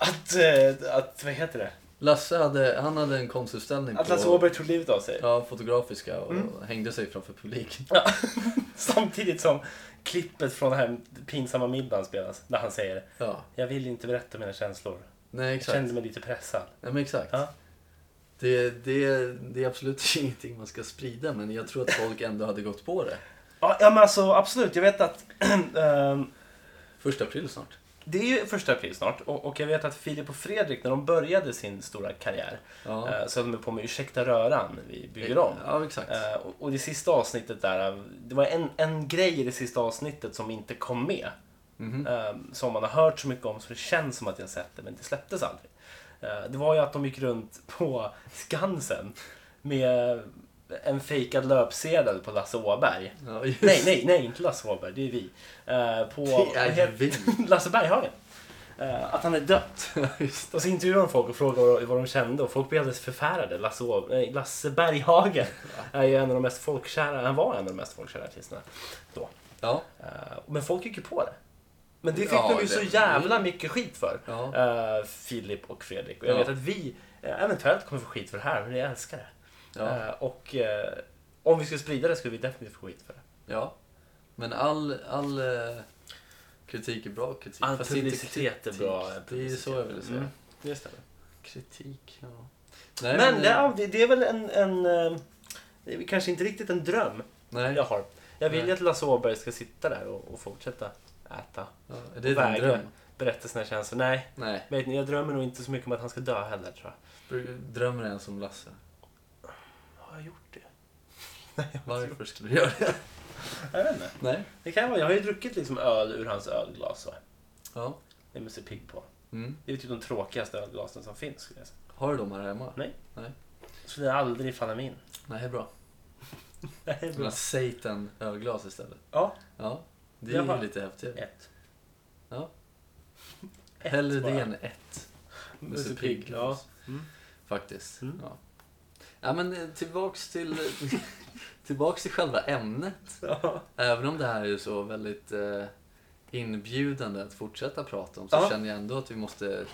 Att, eh, att vad heter det?
Lasse hade, han hade en konstutställning
Att Lasse
på
Åberg tog livet av sig.
ja, fotografiska och hängde sig framför publiken.
Ja. Samtidigt som klippet från den här pinsamma middagen spelas. Där han säger
Ja,
Jag vill inte berätta mina känslor.
nej
Jag
exakt.
kände mig lite pressad.
Ja, men exakt.
Ja.
Det, det, det är absolut ingenting man ska sprida men jag tror att folk ändå hade gått på det.
Ja, ja men alltså absolut. Jag vet att ehm,
Första april snart.
det är ju första april snart och, och jag vet att Filip och Fredrik när de började sin stora karriär
Ja.
eh, så höll de på med Ursäkta röran, vi bygger om.
Ja, exakt.
Eh, och, och det sista avsnittet där, eh, det var en, en grej i det sista avsnittet som inte kom med.
Mhm.
Eh, som man har hört så mycket om så det känns som att jag sett det men det släpptes aldrig. Eh, det var ju att de gick runt på Skansen med en fejkad löpsedel på Lasse Åberg.
Ja, just.
Nej, nej, nej, inte Lasse Åberg, det är vi. Eh, på,
Det är
vad heter-
vi.
Lasse Berghagen. Eh, att han är dött.
Ja, just.
Och så intervjuade de folk och frågade vad- vad de kände och folk blev alldeles förfärade. Lasse, Å- nej, Lasse Berghagen är ju en av de mest folkkära, han var en av de mest folkkära artisterna då.
Ja.
Eh, Men folk gick ju på det. Men det fick
Ja,
de ju
det-
så jävla mycket skit för.
Ja.
eh, Filip och Fredrik. Och jag
Ja.
vet att vi eh, eventuellt kommer få skit för det här, men jag älskar det.
Ja.
Eh, Och eh, om vi skulle sprida det skulle vi definitivt få skit för det.
ja. Men all, all eh, kritik är bra kritik.
All
Fast inte
publicitet är
kritik.
bra
Det är
publicitet.
så jag ville säga.
Mm. Just det.
Kritik, ja. Nej,
Men
eh,
ja, det, det är väl en, en... eh, det är Kanske inte riktigt en dröm
Nej,
jag har. Jag vill ju
Nej.
att Lasse Åberg ska sitta där och, och fortsätta äta.
ja, är det din
Vägra
dröm?
Berätta sina känslor. Nej,
Nej,
vet ni, jag drömmer nog inte så mycket om att han ska dö heller tror jag.
drömmer en som Lasse.
Har jag gjort det?
Varför skulle du göra det?
Jag vet inte.
Nej.
Det kan vara. Jag har ju druckit liksom öl ur hans ölglas. Va?
Ja.
Det är Musse Pigg på.
Mm.
Det är typ de tråkigaste ölglasen som finns. Skulle jag säga.
Har du dem här hemma?
Nej.
Nej.
Skulle jag aldrig falla mig in.
Nej, det är bra.
Det är
De här
bra.
Satan ölglas istället.
Ja,
Ja, det
Jag
är
har-
ju lite häftigare.
ett.
Ja.
Ett
Hellre
bara.
det än ett. Musse Pigg.
Ja.
Faktiskt.
Mm.
Ja. ja, men eh, tillbaks till, tillbaks till själva ämnet.
Ja.
Även om det här är så väldigt eh, inbjudande att fortsätta prata om så
Ja.
känner jag ändå att vi måste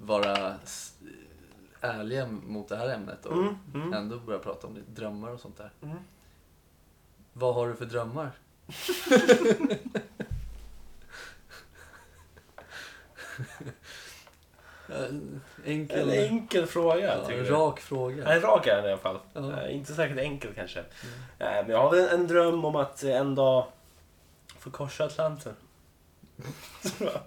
vara s- eh, ärliga mot det här ämnet och
Mm, mm.
ändå börja prata om lite drömmar och sånt där.
Mm.
Vad har du för drömmar? En Eh, enkel,
En enkel fråga.
ja,
tycker jag.
rak fråga.
En rak är den i alla fall.
Ja. Mm.
Eh, inte särskilt enkel kanske. Eh, men jag har väl en, en dröm om att eh, en dag få korsa Atlanten. Tror jag.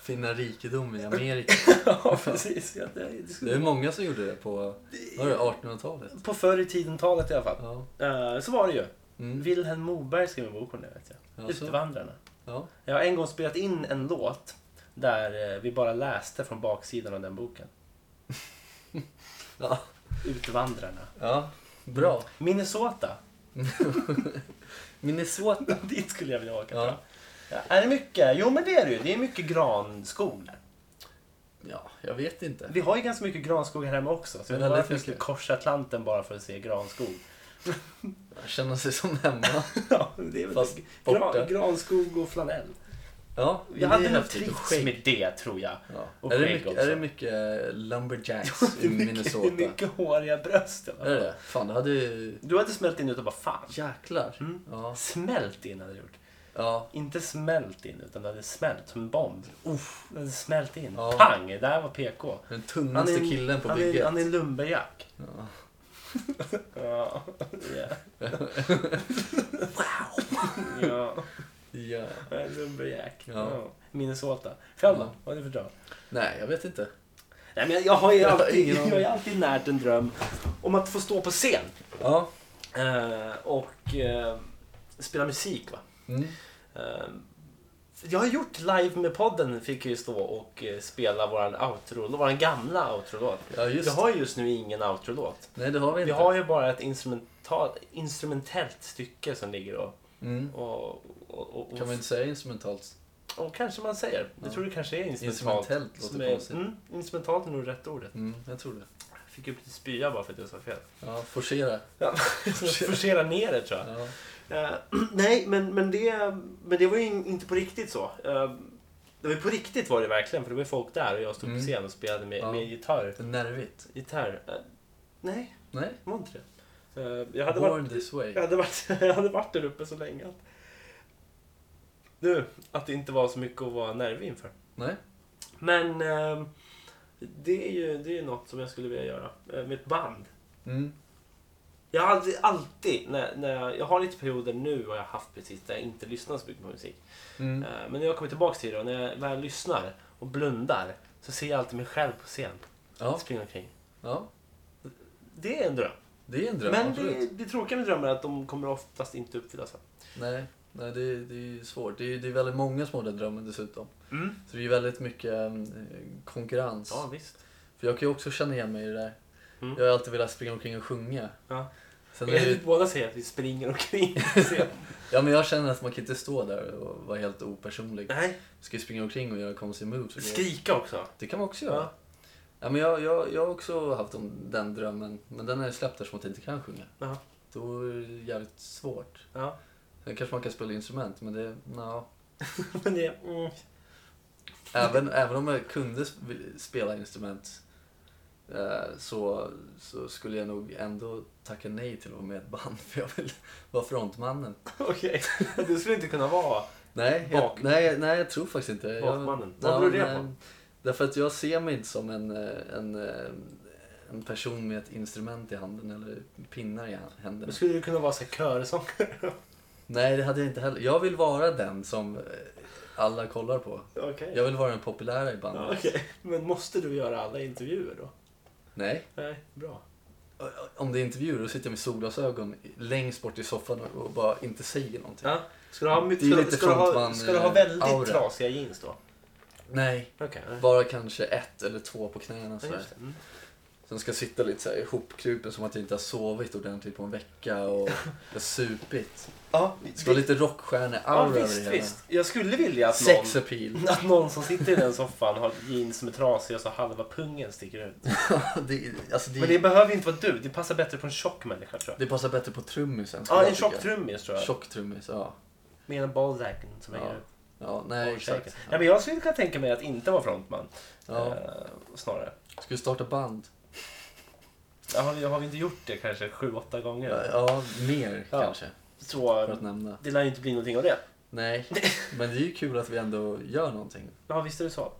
Finna rikedom i Amerika.
ja, precis. Ja, det, det
Det är
skulle...
många som gjorde det på vad var det, 1800-talet.
På förr i tiden-talet i alla fall.
Ja.
Eh, så var det ju.
Mm.
Wilhelm Moberg skrev en bok om det, vet jag.
Jaså?
Utvandrarna.
Ja.
Jag har en gång spelat in en låt där eh, vi bara läste från baksidan av den boken.
Ja. Mm.
Utvandrarna.
ja, bra.
Minnesota.
Minnesota.
Dit skulle jag vilja åka.
Ja.
tror jag. Ja, är det mycket? Jo men det är det ju. Det är mycket granskog där.
Ja, jag vet inte.
Vi har ju ganska mycket granskog här hemma också. Så jag vet inte
Väldigt
varför jag skulle
mycket.
korsa Atlanten bara för att se granskog.
Känna sig som hemma.
Ja, det är väl
Fast borta.
gran, granskog och flanell.
Ja, men
Jag
det är
hade nog
häftigt. Och
trivts
skägg.
med det tror jag.
Ja.
Och
Är, det
skägg
mycket,
också.
är det mycket eh, lumberjacks i
Det är mycket, det
Minnesota?
är mycket håriga bröst. i alla
Är det
fall.
det? Fan, det hade ju...
Du hade smält in utan bara fan.
Jäklar.
Mm.
Ja.
Smält in hade du gjort.
Ja.
Inte smält in utan det hade smält som en bomb. Uff, det hade smält in.
Ja.
Pang! Det där var PK.
Den tunnaste
en-
killen på
han är,
bygget.
han är en lumberjack. Ja. ja. wow! ja,
Ja.
han är en lumberjack.
Ja.
Ja. Minnesota. Själv då?
Ja.
Vad är det för dröm?
Nej, jag vet inte.
Nej, men jag har ju
Jag har
alltid,
ingen
jag
aning.
har ju alltid närt en dröm om att få stå på scen.
Ja.
Eh, och eh, spela musik va.
Mm.
Eh, jag har gjort live med podden, fick jag ju stå och eh, spela våran outro, våran gamla outro-låt.
Ja, just
jag har ju just nu ingen outro-låt.
Nej, det har vi
Vi
inte.
har ju bara ett instrumental, instrumentellt stycke som ligger och...
Mm.
och, och, och, och
Kan man inte säga instrumentalt?
och kanske man säger. Jag tror det kanske är instrumentalt.
Instrumentellt
som
låter
är,
konstigt.
mm, instrumentalt är nog rätt ordet.
Mm, jag tror det.
Jag fick ju lite spya bara för att jag sa fel.
Ja, forcera.
Ja, Forcera ner det tror jag.
Ja.
Eh, nej, men, men, det, men det var ju in, inte på riktigt så. Eh, Det var ju på riktigt var det verkligen, för det var ju folk där och jag stod på
Mm.
scen och spelade med,
Ja.
med gitarr.
Nervigt.
Gitarr? Eh, nej,
Nej.
det var inte det. Eh, jag, hade
Born
varit,
this way.
jag, hade varit, jag hade varit där uppe så länge att... Du, att det inte var så mycket att vara nervig inför.
Nej.
Men ehm, det är ju det är ju något som jag skulle vilja göra eh, med ett band.
Mm.
Jag har alltid, alltid när, när jag, jag har lite perioder nu och jag har haft precis där jag inte lyssnar så mycket på musik.
Mm.
Eh, Men när jag kommer tillbaka till det och när jag väl lyssnar och blundar så ser jag alltid mig själv på scen.
Ja.
Springa omkring.
ja.
Det är en dröm.
Det är en dröm,
Men
absolut.
det, det tråkiga med drömmar är att de kommer oftast inte uppfyllas.
Nej, nej det, är- det är ju svårt. Det är, det är väldigt många som har den drömmen dessutom.
Mm.
Så det är väldigt mycket eh, konkurrens.
Ja, visst.
För jag kan ju också känna igen mig i det där.
Mm.
Jag har alltid velat springa omkring och sjunga.
Ja.
Sen är det,
Vi
ju-
båda säger att vi springer omkring på scen.
ja, men jag känner att man kan inte stå där och vara helt opersonlig.
Nej,
Ska ju springa omkring och göra konstiga moves. och grejer.
skrika också.
Det kan man också göra.
Ja.
Ja. men jag, jag, jag har också haft om- den drömmen, men den har jag släppt eftersom att jag inte kan sjunga.
Ja.
Då är det jävligt svårt.
Ja.
Sen kanske man kan spela instrument, men det... Ja.
Men det, mm.
Även, även om jag kunde sp- spela instrument eh, så, så skulle jag nog ändå tacka nej till att vara med i ett band för jag vill vara frontmannen.
Okej, du skulle inte kunna vara...
Nej, jag,
Bak-
nej, nej jag tror faktiskt inte det. Jag-
Bakmannen. Vad beror det
nej,
på?
Därför att jag ser mig inte som en, eh, en, eh, en person med ett instrument i handen eller pinnar i händerna.
Men skulle du kunna vara så här körsångare?
Nej, det hade jag inte heller. Jag vill vara den som eh, alla kollar på.
Okej.
Jag vill vara den populära i bandet.
Ja, okej. Men måste du göra alla intervjuer då?
Nej,
Nej, bra.
om det är intervjuer då sitter jag med solglasögon längst bort i soffan och och bara inte säger någonting.
Ja. Ska du ha,
Det är
ska, du-
lite
ska du ha,
frontman,
ska du ha
eh,
väldigt
aura.
trasiga jeans då?
Nej,
Okej.
bara kanske ett eller två på knäna. Så
Ja,
här.
just det. Mm.
Sen ska jag sitta lite så här ihopkrupen som att jag inte har sovit ordentligt på en vecka och jag har supit.
Ja,
Det ska vara lite rockstjärne-aura
ja,
över
visst,
det hela.
visst. Jag skulle vilja att någon,
Sex appeal.
att någon som sitter i den soffan har jeans som är trasiga så halva pungen sticker ut.
det, alltså det,
Men det behöver inte vara du. Det passar bättre på en tjock människa tror jag.
det passar bättre på trummisen. skulle
Ja,
jag
en tjock
tycka.
trummis tror jag.
Tjock trummis, ja.
Med en ballsäcken som
Ja,
hänger upp.
Ja, nej
Ballsäcken.
exakt.
Ja, men jag skulle kunna tänka mig att inte vara frontman.
Ja.
Eh, snarare.
Ska vi starta band?
Ja, Har vi, har vi inte gjort det kanske sju, åtta gånger?
Ja, mer
Ja.
kanske.
Så
För att nämna.
det lär ju inte bli någonting av det.
Nej, men det är ju kul att vi ändå gör någonting.
Ja, visst är det så.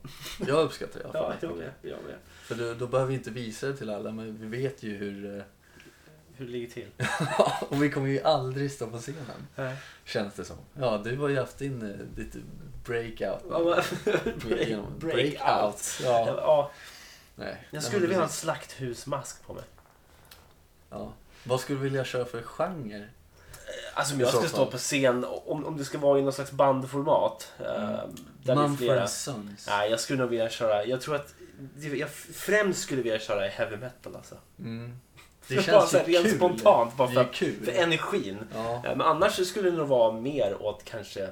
Jag uppskattar det i alla
Ja,
fall.
jag med. Jag med.
För då, då behöver vi inte visa det till alla, men vi vet ju hur... eh,
Hur det ligger till.
och vi kommer ju aldrig stå på scenen,
Nej.
känns det som. Ja, du har ju haft din, eh, ditt breakout.
Ja, men-
Genom-
break, breakout.
breakout. Ja.
Ja. Ja,
Nej.
jag skulle vilja ha en
precis.
slakthusmask på mig.
Ja. Vad skulle du vilja köra för genre?
Alltså om jag
I så
ska stå
fall.
på scen, om, om det ska vara i någon slags bandformat. eh, Där det är
Mumford
flera.
Sons.
Nej, jag skulle nog vilja köra, jag tror att, jag främst skulle vilja köra heavy metal alltså.
Mm.
Bara så här rent spontant, bara
det är
för
ju kul.
För energin.
Ja.
Eh, Men annars så skulle det nog vara mer åt kanske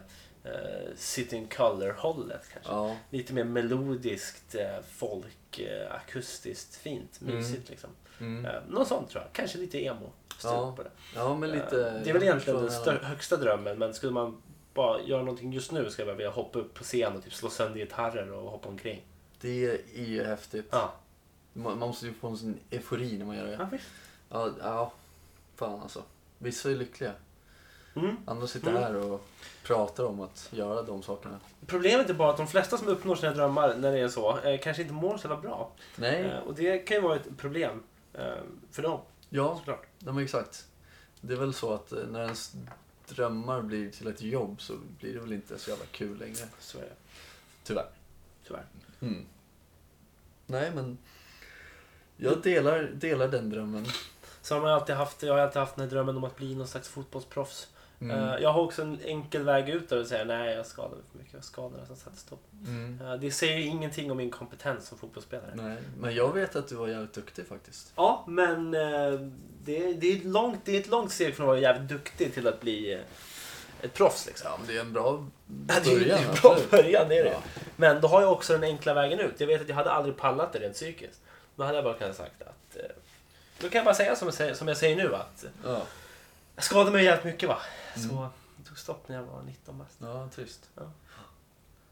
eh, Sitting Color-hållet kanske.
Ja.
Lite mer melodiskt, eh, folk, eh, akustiskt fint,
Mm.
mysigt liksom.
Mm.
Eh, något sånt tror jag. Kanske lite emo.
Ja,
på det.
ja, men lite...
Eh, det är väl egentligen den
från-
stör- högsta drömmen, men skulle man bara göra någonting just nu skulle jag vilja hoppa upp på scen och typ slå sönder gitarrer och hoppa omkring.
Det är ju häftigt.
Ja,
Man, man måste ju få en sån eufori när man gör det.
ja visst.
Ja, ja. Fan alltså. Vissa är lyckliga.
Mm.
Andra sitter
Mm.
här och pratar om att göra de sakerna.
Problemet är bara att de flesta som uppnår sina drömmar när det är så eh, kanske inte mår så jävla bra.
Nej,
Eh, och det kan ju vara ett problem eh, för dem
ja,
såklart.
ja men exakt. Det är väl så att eh, när ens drömmar blir till ett jobb så blir det väl inte så jävla kul längre.
Så är det,
Tyvärr.
tyvärr.
Mm. Nej, men jag delar, delar den drömmen.
Så har man alltid haft, jag har alltid haft den här drömmen om att bli någon slags fotbollsproffs.
Mm.
Eh, jag har också en enkel väg ut där och säga nej jag skadar mig för mycket, jag skadar mig som sätter stopp.
Mm.
Eh, det säger ju ingenting om min kompetens som fotbollsspelare.
Nej, men jag vet att du var jävligt duktig faktiskt.
Ja, men eh, det, det, är ett långt, det är ett långt steg från att vara jävligt duktig till att bli eh, ett proffs. Liksom.
Ja, men det är en bra
Ja, det är ju
början.
en bra
absolut.
början, det är det.
Ja.
Men då har jag också den enkla vägen ut. Jag vet att jag hade aldrig pallat det rent psykiskt. Då hade jag bara kunnat sagt att... eh, Då kan jag bara säga som jag säger, som jag säger nu att eh,
Ja.
jag
Mm.
skadade mig jävligt mycket va. Så det tog stopp när jag var 19 bast.
Ja, trist.
Ja.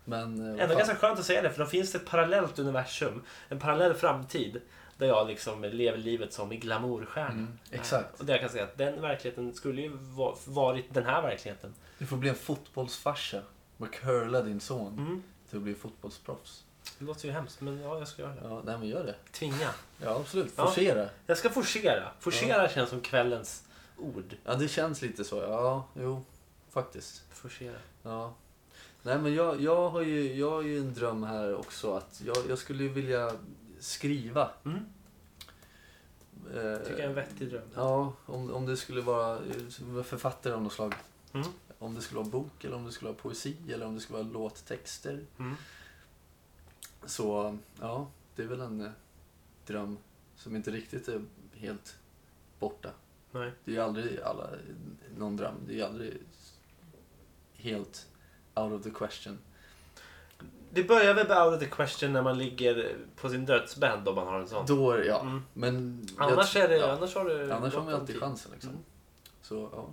Men eh, vad
Ändå
fan.
ganska skönt att säga det, för då finns det ett parallellt universum, en parallell framtid där jag liksom lever livet som en glamourstjärna.
Mm, exakt.
Och där kan jag säga att den verkligheten skulle ju va- varit den här verkligheten.
Du får bli en fotbollsfarsa. Bara curla din son
Mm.
till att bli fotbollsproffs.
Det låter ju hemskt, men ja, jag ska göra det.
Ja, nej men gör det.
Tvinga.
Ja, absolut.
Ja.
Forcera. Ja.
Jag ska forcera. Forcera känns som kvällens ord.
det känns lite så. Ja, jo. Faktiskt.
Forcera.
Ja. Nej men jag, jag, har, ju, jag har ju en dröm här också att jag, jag skulle ju vilja skriva.
Mm.
Eh,
Tycker jag är en vettig dröm.
Ja, om, om det skulle vara eh, författare av något slag.
Mm.
Om det skulle vara bok eller om det skulle vara poesi eller om det skulle vara låttexter.
Mm.
Så ja, det är väl en eh, dröm som inte riktigt är helt borta.
Nej.
Det är ju aldrig alla, någon dröm. Det är ju aldrig helt out of the question.
Det börjar väl med out of the question när man ligger på sin dödsbädd om man har en sån.
Då, är det- ja.
Mm.
Men jag
Annars,
tr-
är det,
ja.
annars har
Annars
du
har
gott
man
om
alltid
tid.
chansen liksom.
Mm.
Så, ja.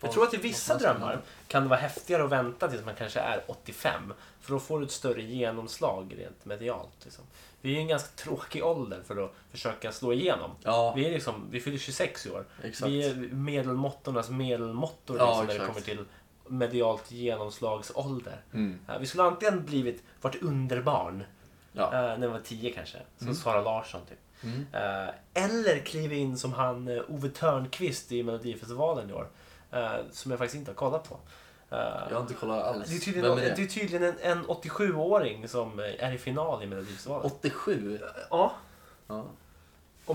Jag tror att i
Vad-
vissa
vad fan ska
drömmar
hända?
kan det vara häftigare att vänta tills man kanske är 85. För då får du ett större genomslag rent medialt. Liksom. Vi är ju en ganska tråkig ålder för att försöka slå igenom.
Ja,
Vi, är liksom, vi fyller 26 i år.
exakt.
Vi är medelmåttornas medelmåttor
Ja,
liksom, när det
exakt.
kommer till medialt genomslagsålder.
Mm.
Eh, Vi skulle antingen blivit vårt underbarn
Ja.
eh, när vi var 10 kanske, som Sara Larsson typ.
Mm.
Eh, Eller kliva in som han eh, Ove Törnqvist i Melodifestivalen i år. eh, Som jag faktiskt inte har kollat på. Eh,
Jag har inte kollat alls.
Det är tydligen,
Vem är
det är
det?
tydligen en, en 87-åring som eh, är i final i Melodifestivalen.
87?
Ja,
Ja.
om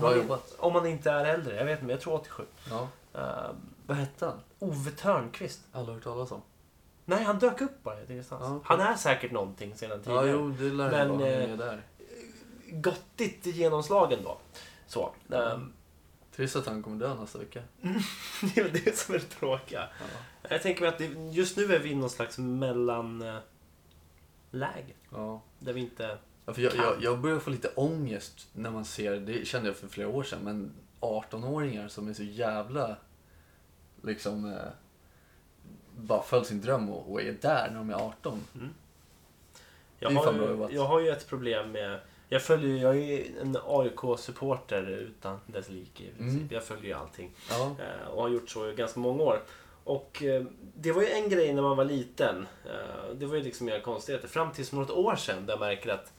Bra
man, in-
jobbat.
om man inte är äldre. Jag vet inte, men jag tror 87.
ja.
Eh,
Vad hette han?
Ove Törnqvist.
Aldrig hört talas om.
Nej, han dök upp bara ingenstans.
Ja, okej.
Han är säkert någonting sedan
Ja,
tidigare.
jo, det lär
Men,
Men, vara. Han är
eh,
med där.
Gottigt genomslag ändå. Så. ehm,
Trist att han kommer dö nästa vecka.
det är väl det som är det tråkiga. Jag tänker mig att det, just nu är vi i någon slags mellanläge.
Ja.
Där vi inte...
Ja, för jag, jag, jag börjar få lite ångest när man ser, det kände jag för flera år sedan, men 18-åringar som är så jävla liksom eh, bara följer sin dröm och, och är där när de är 18.
Jag
Det är
har,
fan bra jobbat.
ju, jag har ju ett problem med... Jag följer ju- jag är ju en AIK-supporter utan dess like i princip.
Mm.
Jag följer ju allting.
Ja.
Eh, Och har gjort så i ganska många år. Och eh, det var ju en grej när man var liten. Eh, Det var ju liksom inga konstigheter. Fram tills något år sedan där jag märker att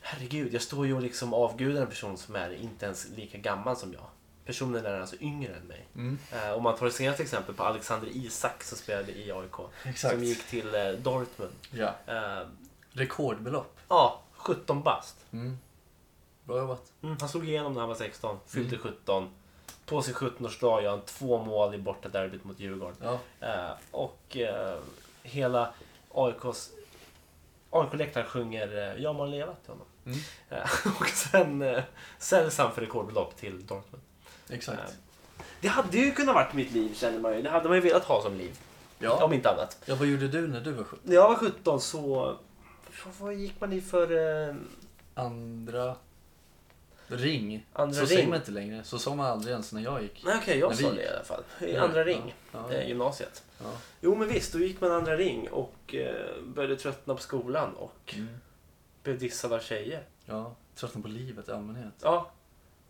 Herregud, jag står ju och liksom avgudar en person som är inte ens lika gammal som jag. Personen är alltså yngre än mig.
Mm.
Eh, Om man tar det senaste exempel på Alexander Isak som spelade i AIK.
Exakt.
Som gick till eh, Dortmund.
ja.
Eh,
Rekordbelopp.
Ja, 17 bast.
Mm. Bra jobbat.
Mm, han slog igenom när han var 16, fyllde
Mm.
17. På sin 17-årsdag gör han två mål i borta derbyt mot Djurgården.
Ja.
Eh, och eh, hela AIKs AIK-läktaren sjunger eh, Ja man leva till honom.
Mm.
Eh, och sen eh, säljs han för rekordbelopp till Dortmund.
Exakt.
Eh, Det hade ju kunnat varit mitt liv känner man ju. Det hade man ju velat ha som liv. Om
Ja.
inte annat.
ja, vad gjorde du när du var 17?
När jag var 17 så... Vad- Vad gick man i för... Eh,
Andra ring.
Andra
så
ring.
säger man inte längre. Så sa man aldrig ens när jag gick.
Nej okej, jag
Men vi
sa
gick.
det i alla fall. I andra ring.
Ja.
Eh,
Ja.
gymnasiet.
Ja.
Jo men visst, då gick man andra ring och eh, började tröttna på skolan och
Mm.
blev dissad av tjejer.
ja. Tröttnade på livet i allmänhet.
Ja,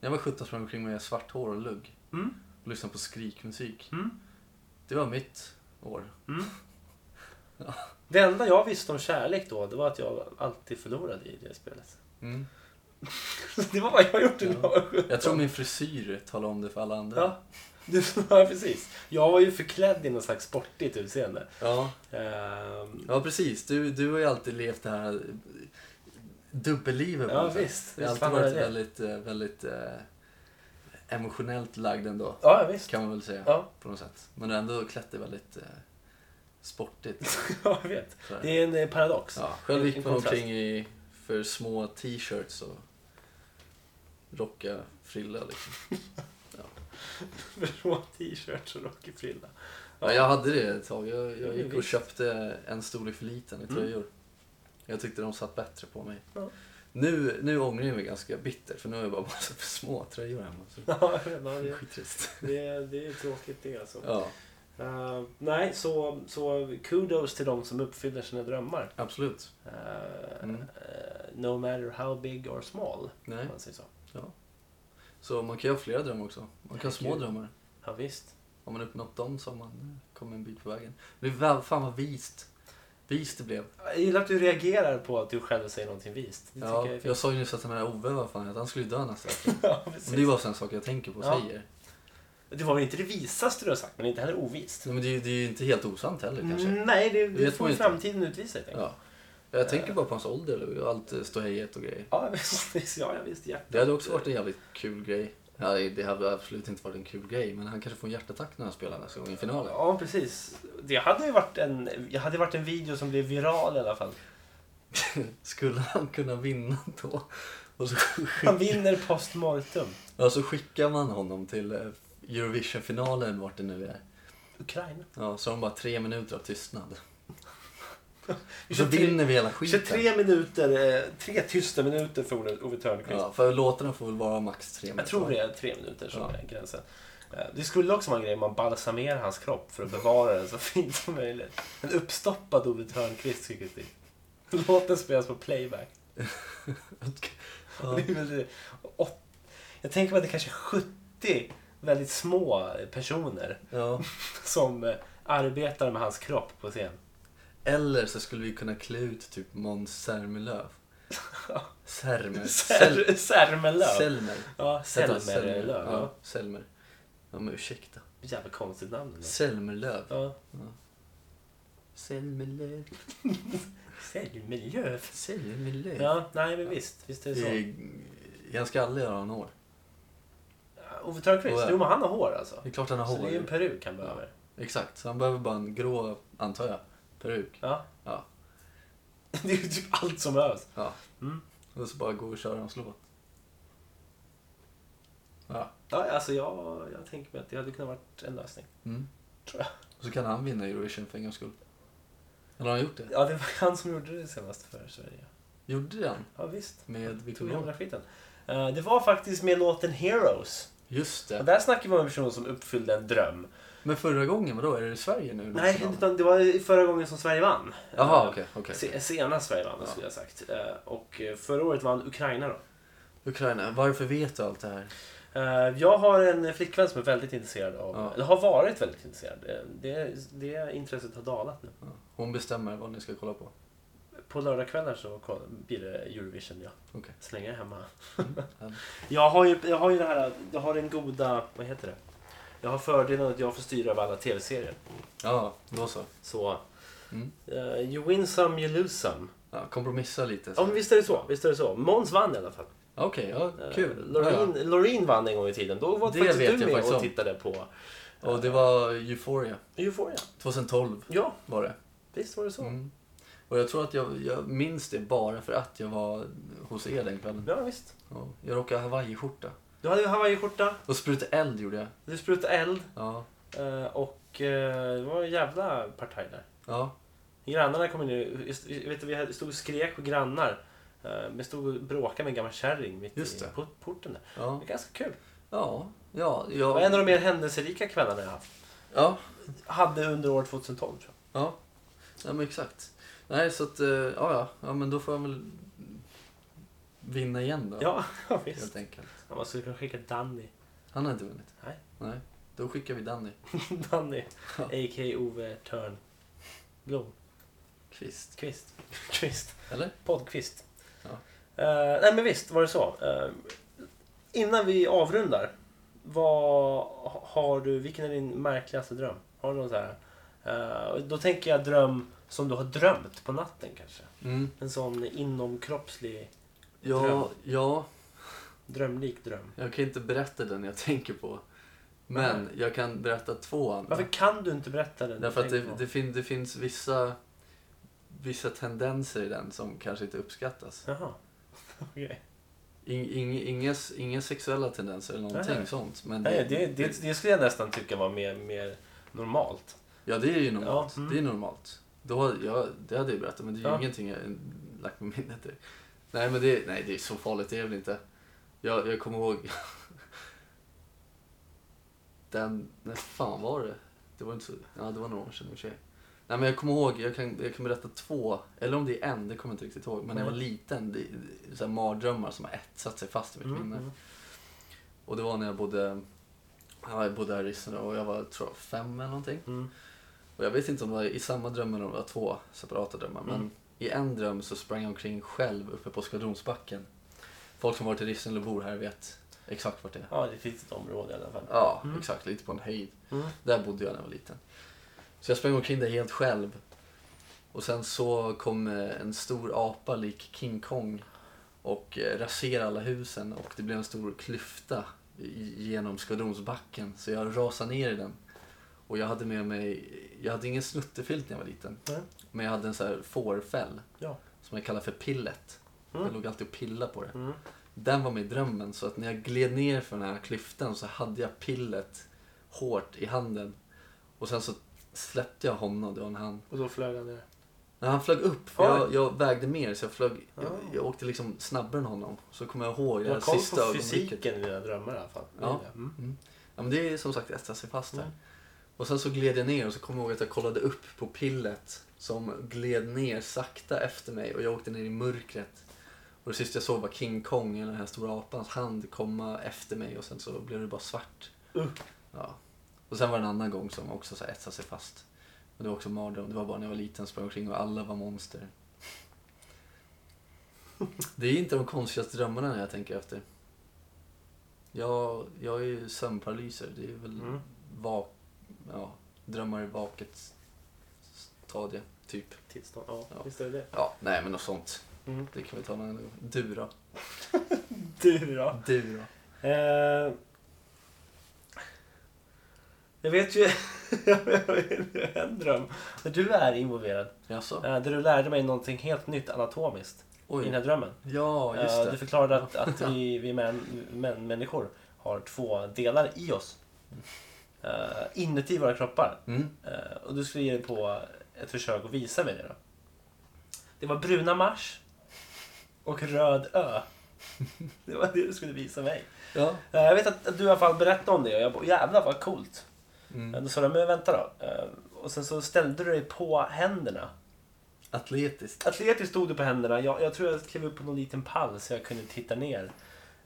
När jag var 17 sprang jag omkring med svart hår och lugg.
Mm.
Och lyssnade på skrikmusik.
Mm.
Det var mitt år.
det enda jag visste om kärlek då, det var att jag alltid förlorade i det spelet. det var vad jag gjort
Ja.
när jag var 17.
Jag tror min frisyr talade om det för alla andra.
Ja, du, ja, precis. Jag var ju förklädd i något slags sportigt utseende.
ja.
Ehm,
Ja, precis. Du, du har ju alltid levt det här eh, dubbellivet. på
Ja,
något sätt.
visst.
Det har
Visst
alltid
fan är
varit väldigt,
det.
eh, väldigt eh, emotionellt lagd ändå.
ja, ja, visst.
Kan man väl säga.
Ja.
På något sätt. Men ändå klätt det väldigt eh, sportigt.
ja, jag vet.
sådär.
Det är en eh, paradox.
Ja, själv
En
gick man
kontrast.
omkring i för små t-shirts och rocka frilla liksom.
Blå t-shirts och rockig frilla.
Ja, jag hade det ett tag. Jag,
Ja,
jag gick och
visst. Mm.
köpte en storlek för liten i tröjor. Jag tyckte de satt bättre på mig.
Ja.
Nu, nu ångrar jag mig ganska bitter för nu har jag bara massa för små tröjor hemma. Så
Ja, jag vet, ja,
det är
det,
skittrist.
det, det är tråkigt det alltså.
Ja,
Eh, Eh, nej, så, så kudos till de som uppfyller sina drömmar.
Absolut.
Eh,
Mm.
eh, no matter how big or small.
Nej.
Om man säger så.
Så man kan ju ha flera drömmar också. Man kan ha små
Herregud.
drömmar.
Ja, visst.
Om man uppnått dem så har man eh, kommit en bit på vägen. Det blir väl, fan vad vist. Vist det blev.
Jag gillar att du reagerar på att du själv säger någonting vist. Det
Ja,
tycker jag är
jag,
fint.
sa ju nyss att den här Ove, vad fan, att han skulle ju dö nästa vecka.
Ja,
Men det är
precis.
bara sådana saker jag tänker på och
Ja.
säger.
Det var väl inte det visaste du har sagt, men inte heller ovist.
Nej, Men det, är ju- det är ju inte helt osant heller
Mm.
kanske.
Nej, det, det
vet
får
man inte.
framtiden utvisa helt enkelt.
Ja.
Eh.
Jag tänker bara på hans ålder nu och allt eh, ståhejet och grejer.
Ja, visst. Ja, ja, visst. Hjärtat.
Det hade också varit en jävligt kul grej. Nej, det hade absolut inte varit en kul grej, men han kanske får en hjärtattack när han spelar nästa gång i finalen.
Ja, precis. Det hade ju varit en, jag hade varit en video som blev viral i alla fall.
Skulle han kunna vinna då? Och så,
Han vinner postmortem.
ja, så skickar man honom till eh, Eurovision-finalen, vart det nu är.
Ukraina.
Ja, så har de bara tre minuter av tystnad. Så
23
vinner vi hela skiten.
23 minuter, eh, tre tysta minuter för Ove- Ove Thörnqvist.
Ja, för låtarna får väl vara max tre minuter.
Jag tror det är tre minuter som
Ja.
är gränsen. Eh, Det skulle också vara en grej om man balsamerar hans kropp för att bevara den så fint som möjligt. En uppstoppad Ove Thörnqvist skickas dit. Låten spelas på playback.
Ja.
Det är väl, eh, åt- Jag tänker mig att det kanske är 70 väldigt små personer
Ja.
som eh, arbetar med hans kropp på scen.
Eller så skulle vi kunna klä ut typ Måns Zelmerlöw. Sermer.
Ser- Sermelöv.
Selmer.
Ja,
Heter han Selmer?
Selmerlöv.
Ja,
Ja.
Selmer. Ja, men ursäkta.
Jävla konstigt namn. ändå.
Selmerlöv.
Ja.
Selmerlöv.
Selmerlöv.
Selmerlöv.
Ja, nej men visst. Visst är det
Det
så.
är ganska skallig har han hår.
Ove Thörnqvist,
Ja.
jo men han har hår alltså.
Det är klart han har
Så det är ju
hår.
en peruk han behöver.
Exakt, så han behöver bara en grå, antar jag, peruk.
Ja.
Ja.
Det är ju typ allt som behövs.
Ja.
Mm.
Och så bara gå och köra hans låt. Ja.
Ja, alltså jag, jag tänker mig att det hade kunnat varit en lösning.
Mm.
Tror jag.
Och så kan han vinna Eurovision för en gångs skull. Eller har han gjort det?
Ja, det var han som gjorde det senast för Sverige.
Gjorde det han?
Ja, visst.
Med
Tog
Victoria?
gamla skiten. Eh, Det var faktiskt med låten Heroes.
Just
Och
det.
där snackar vi om en person som uppfyllde en
Mm.
dröm.
Men förra gången, vadå? Är det i Sverige nu? Liksom?
Nej, utan det var förra gången som Sverige vann.
Jaha,
Eh,
okej. okej.
se- Senast Sverige vann,
Ja.
skulle jag ha sagt. Eh, Och eh, förra året vann Ukraina då.
Ukraina, varför vet du allt det här?
Eh, Jag har en flickvän som är väldigt intresserad av,
Ja.
eller har varit väldigt intresserad. Eh, Det, det intresset har dalat nu.
Ja. Hon bestämmer vad ni ska kolla på.
På lördagskvällar så koll- blir det Eurovision ja.
Okej.
Så länge jag är hemma.
härligt.
jag, har ju, jag har ju det här, jag har den goda, vad heter det? Jag har fördelen att jag får styra över alla tv-serier.
Ja, då så.
Så,
Mm.
eh, you win some, you lose some.
Ja, kompromissa lite. så.
Ja men visst är det så, visst är det så. Måns vann i alla fall.
Okej, ja,
Eh,
kul.
Loreen, Loreen vann en gång i tiden. Då var
Det
faktiskt
vet
du
jag
med
faktiskt
och
om.
tittade på
Ja. Och det var Euphoria.
Euphoria.
2012
Ja,
var det.
visst var det så.
Mm. Och jag tror att jag, jag minns det bara för att jag var hos er den kvällen.
Ja visst.
Ja. Jag råkade ha hawaiiskjorta.
Du hade ju hawaiiskjorta,
Och spruta eld gjorde jag.
du sprutade eld
Ja.
eh, och eh, det var en jävla partaj där.
Ja.
Grannarna kom in i- just- vet du, vi hade- stod och skrek på grannar. eh, Vi stod och bråkade med en gammal kärring mitt
Just
i
det.
port- porten där. Det
Ja.
var ganska kul.
Ja. Ja.
Det var en av
Ja.
de mer händelserika kvällarna jag haft.
ja.
Hade under år 2012 tror jag.
Ja, ja men exakt. Nej, så att, eh, ja, ja, ja, men då får han väl vinna igen då.
Ja, ja visst.
Helt enkelt.
Ja, man skulle kunna skicka Danny.
Han har inte vunnit.
Nej.
Nej. Då skickar vi Danny
Danny.
Ja.
A.k.a. Ove Törn. Blom.
Kvist.
Kvist. Kvist.
Eller?
Poddkvist.
Ja.
Eh, nej men visst var det så. Eh, innan vi avrundar. Vad har du, vilken är din märkligaste dröm? Har du någon så här? eh, och då tänker jag dröm som du har drömt på natten kanske.
Mm.
En sån inomkroppslig
Ja,
Dröm.
ja,
drömlik dröm.
jag kan inte berätta den jag tänker på. Men jag kan berätta två andra.
Varför kan du inte berätta den?
Därför att det,
Tänk på.
det, fin- det finns vissa, vissa tendenser i den som kanske inte uppskattas.
Jaha. Okej.
In, ing, inga, inga sexuella tendenser eller någonting
Nej.
sånt. Men det,
Nej, det, det, det skulle jag nästan tycka var mer, mer normalt.
Ja, det är ju normalt.
Ja, mm.
Det är normalt. Då, hade jag, det hade jag berättat, men det är ju
Ja.
ingenting jag eh, lagt på minnet. direkt. Nej, men det, nej, det är så farligt, det är väl inte. Jag, jag kommer ihåg... Den... När fan var det? Det var inte så... Ja, det var några år sedan i och för sig. Nej, men jag kommer ihåg, jag kan, jag kan berätta två, eller om det är en, det kommer jag inte riktigt ihåg. Men när jag var liten, det, det, så här mardrömmar som har etsat sig fast i
Mm.
mitt minne. Och det var när jag bodde, ja, jag bodde här i Rissne och jag var tror jag, fem eller någonting.
Mm.
Och jag vet inte om det var i samma dröm eller om det var två separata drömmar. Men i en dröm så sprang jag omkring själv uppe på Skvadronsbacken. Folk som varit i Rissne eller bor här vet exakt vart det är.
Ja, det finns ett område i alla fall.
Ja, exakt. Lite på en höjd.
Mm.
Där bodde jag när jag var liten. Så jag sprang omkring där helt själv. Och sen så kom eh, en stor apa lik King Kong och eh, raserade alla husen och det blev en stor klyfta i- genom skvadronsbacken. Så jag rasade ner i den. Och jag hade med mig, jag hade ingen snuttefilt när jag var liten.
Nej.
Men jag hade en sån här fårfäll
Ja.
som jag kallar för pillet. Jag låg alltid och pillade på det.
Mm.
Den var med i drömmen så att när jag gled ner för den här klyftan så hade jag pillet hårt i handen. Och sen så släppte jag honom, det var när han...
Och då flög han ner.
När han flög upp, för
Oj.
jag, jag vägde mer så jag flög... Jag, jag åkte liksom snabbare än honom. Så kommer jag ihåg
Du
det
har
här
koll
Eh, sista
på
ögonblicket.
fysiken i dina drömmar i alla fall.
Ja.
Mm.
Ja, men det är som sagt etsat sig fast där.
Mm.
Och sen så gled jag ner och så kommer jag ihåg att jag kollade upp på pillet som gled ner sakta efter mig och jag åkte ner i mörkret. Och det sista jag såg var King Kong, eller den här stora apans hand, komma efter mig och sen så blev det bara svart.
Uh.
Ja. Och sen var det en annan gång som också så här etsade sig fast. Men det var också en mardröm. Det var bara när jag var liten sprang jag omkring och alla var monster. Det är inte de konstigaste drömmarna när jag tänker efter. Jag, jag är ju sömnparalyser. Det är väl
Mm.
vak, ja, drömmar i vaket stadie, typ.
Tillstånd. Ja,
Ja.
visst är det det.
Ja, nej men något sånt.
Mm.
Det kan vi ta någon annan gång. Du då?
Du då?
Du då?
Eh, jag vet ju jag vet en dröm. Där du är involverad.
Jaså?
Eh, där du lärde mig någonting helt nytt anatomiskt i den här
Oj.
drömmen.
Ja, just
Eh,
det.
Du förklarade att, att vi, vi män, män, människor har två delar i oss. Eh, inuti våra kroppar.
Mm.
Eh, och du skulle ge dig på ett försök att visa mig det då. Det var bruna Mars och röd Ö. Det var det du skulle visa mig.
Ja.
Eh, Jag vet att att du i alla fall berättade om det och jag bara jävlar vad coolt. Mm. Då sa du, men vänta då. Eh, Och sen så ställde du dig på händerna.
Atletiskt.
Atletiskt stod du på händerna. Jag, jag tror jag klev upp på någon liten pall så jag kunde titta ner.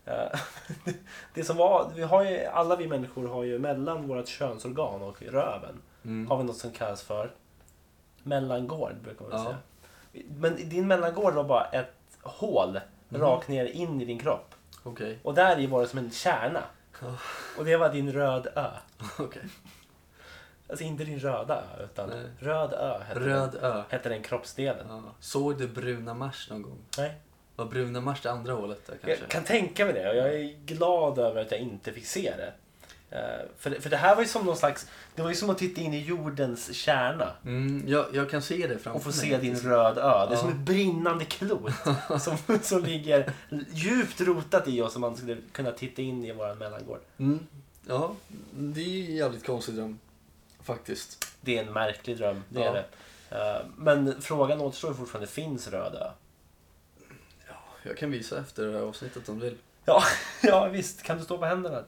Eh, det- Det som var, vi har ju, alla vi människor har ju mellan vårt könsorgan och röven
Mm.
har vi något som kallas för mellangård brukar man väl
Ja.
säga. Men din mellangård var bara ett hål
Mm.
rakt ner in i din kropp.
Okej.
Och där i var det som en kärna.
Oh.
Och det var din röd ö.
Okej.
Alltså inte din röda ö, utan
Nej.
röd ö hette,
Röd
den,
ö.
hette den kroppsdelen.
Ja. Såg du Bruna Mars någon gång?
Nej.
Var Bruna Mars det andra hålet där kanske?
Jag kan tänka mig det och jag är glad över att jag inte fick se det. Eh, För, för det här var ju som någon slags, det var ju som att titta in i jordens kärna
Mm, jag, jag kan se det framför
och få
mig.
se din röd ö. Det är som
Ja.
ett brinnande klot som, som ligger djupt rotat i oss om man skulle kunna titta in i våran mellangård.
Mm. Ja, det är ju en jävligt konstig dröm. Faktiskt.
Det är en märklig dröm, det
Ja.
är det. Eh, Men frågan återstår ju fortfarande, finns röd ö?
Jag kan visa efter det här avsnittet om du vill.
Ja, ja visst. Kan du stå på händerna?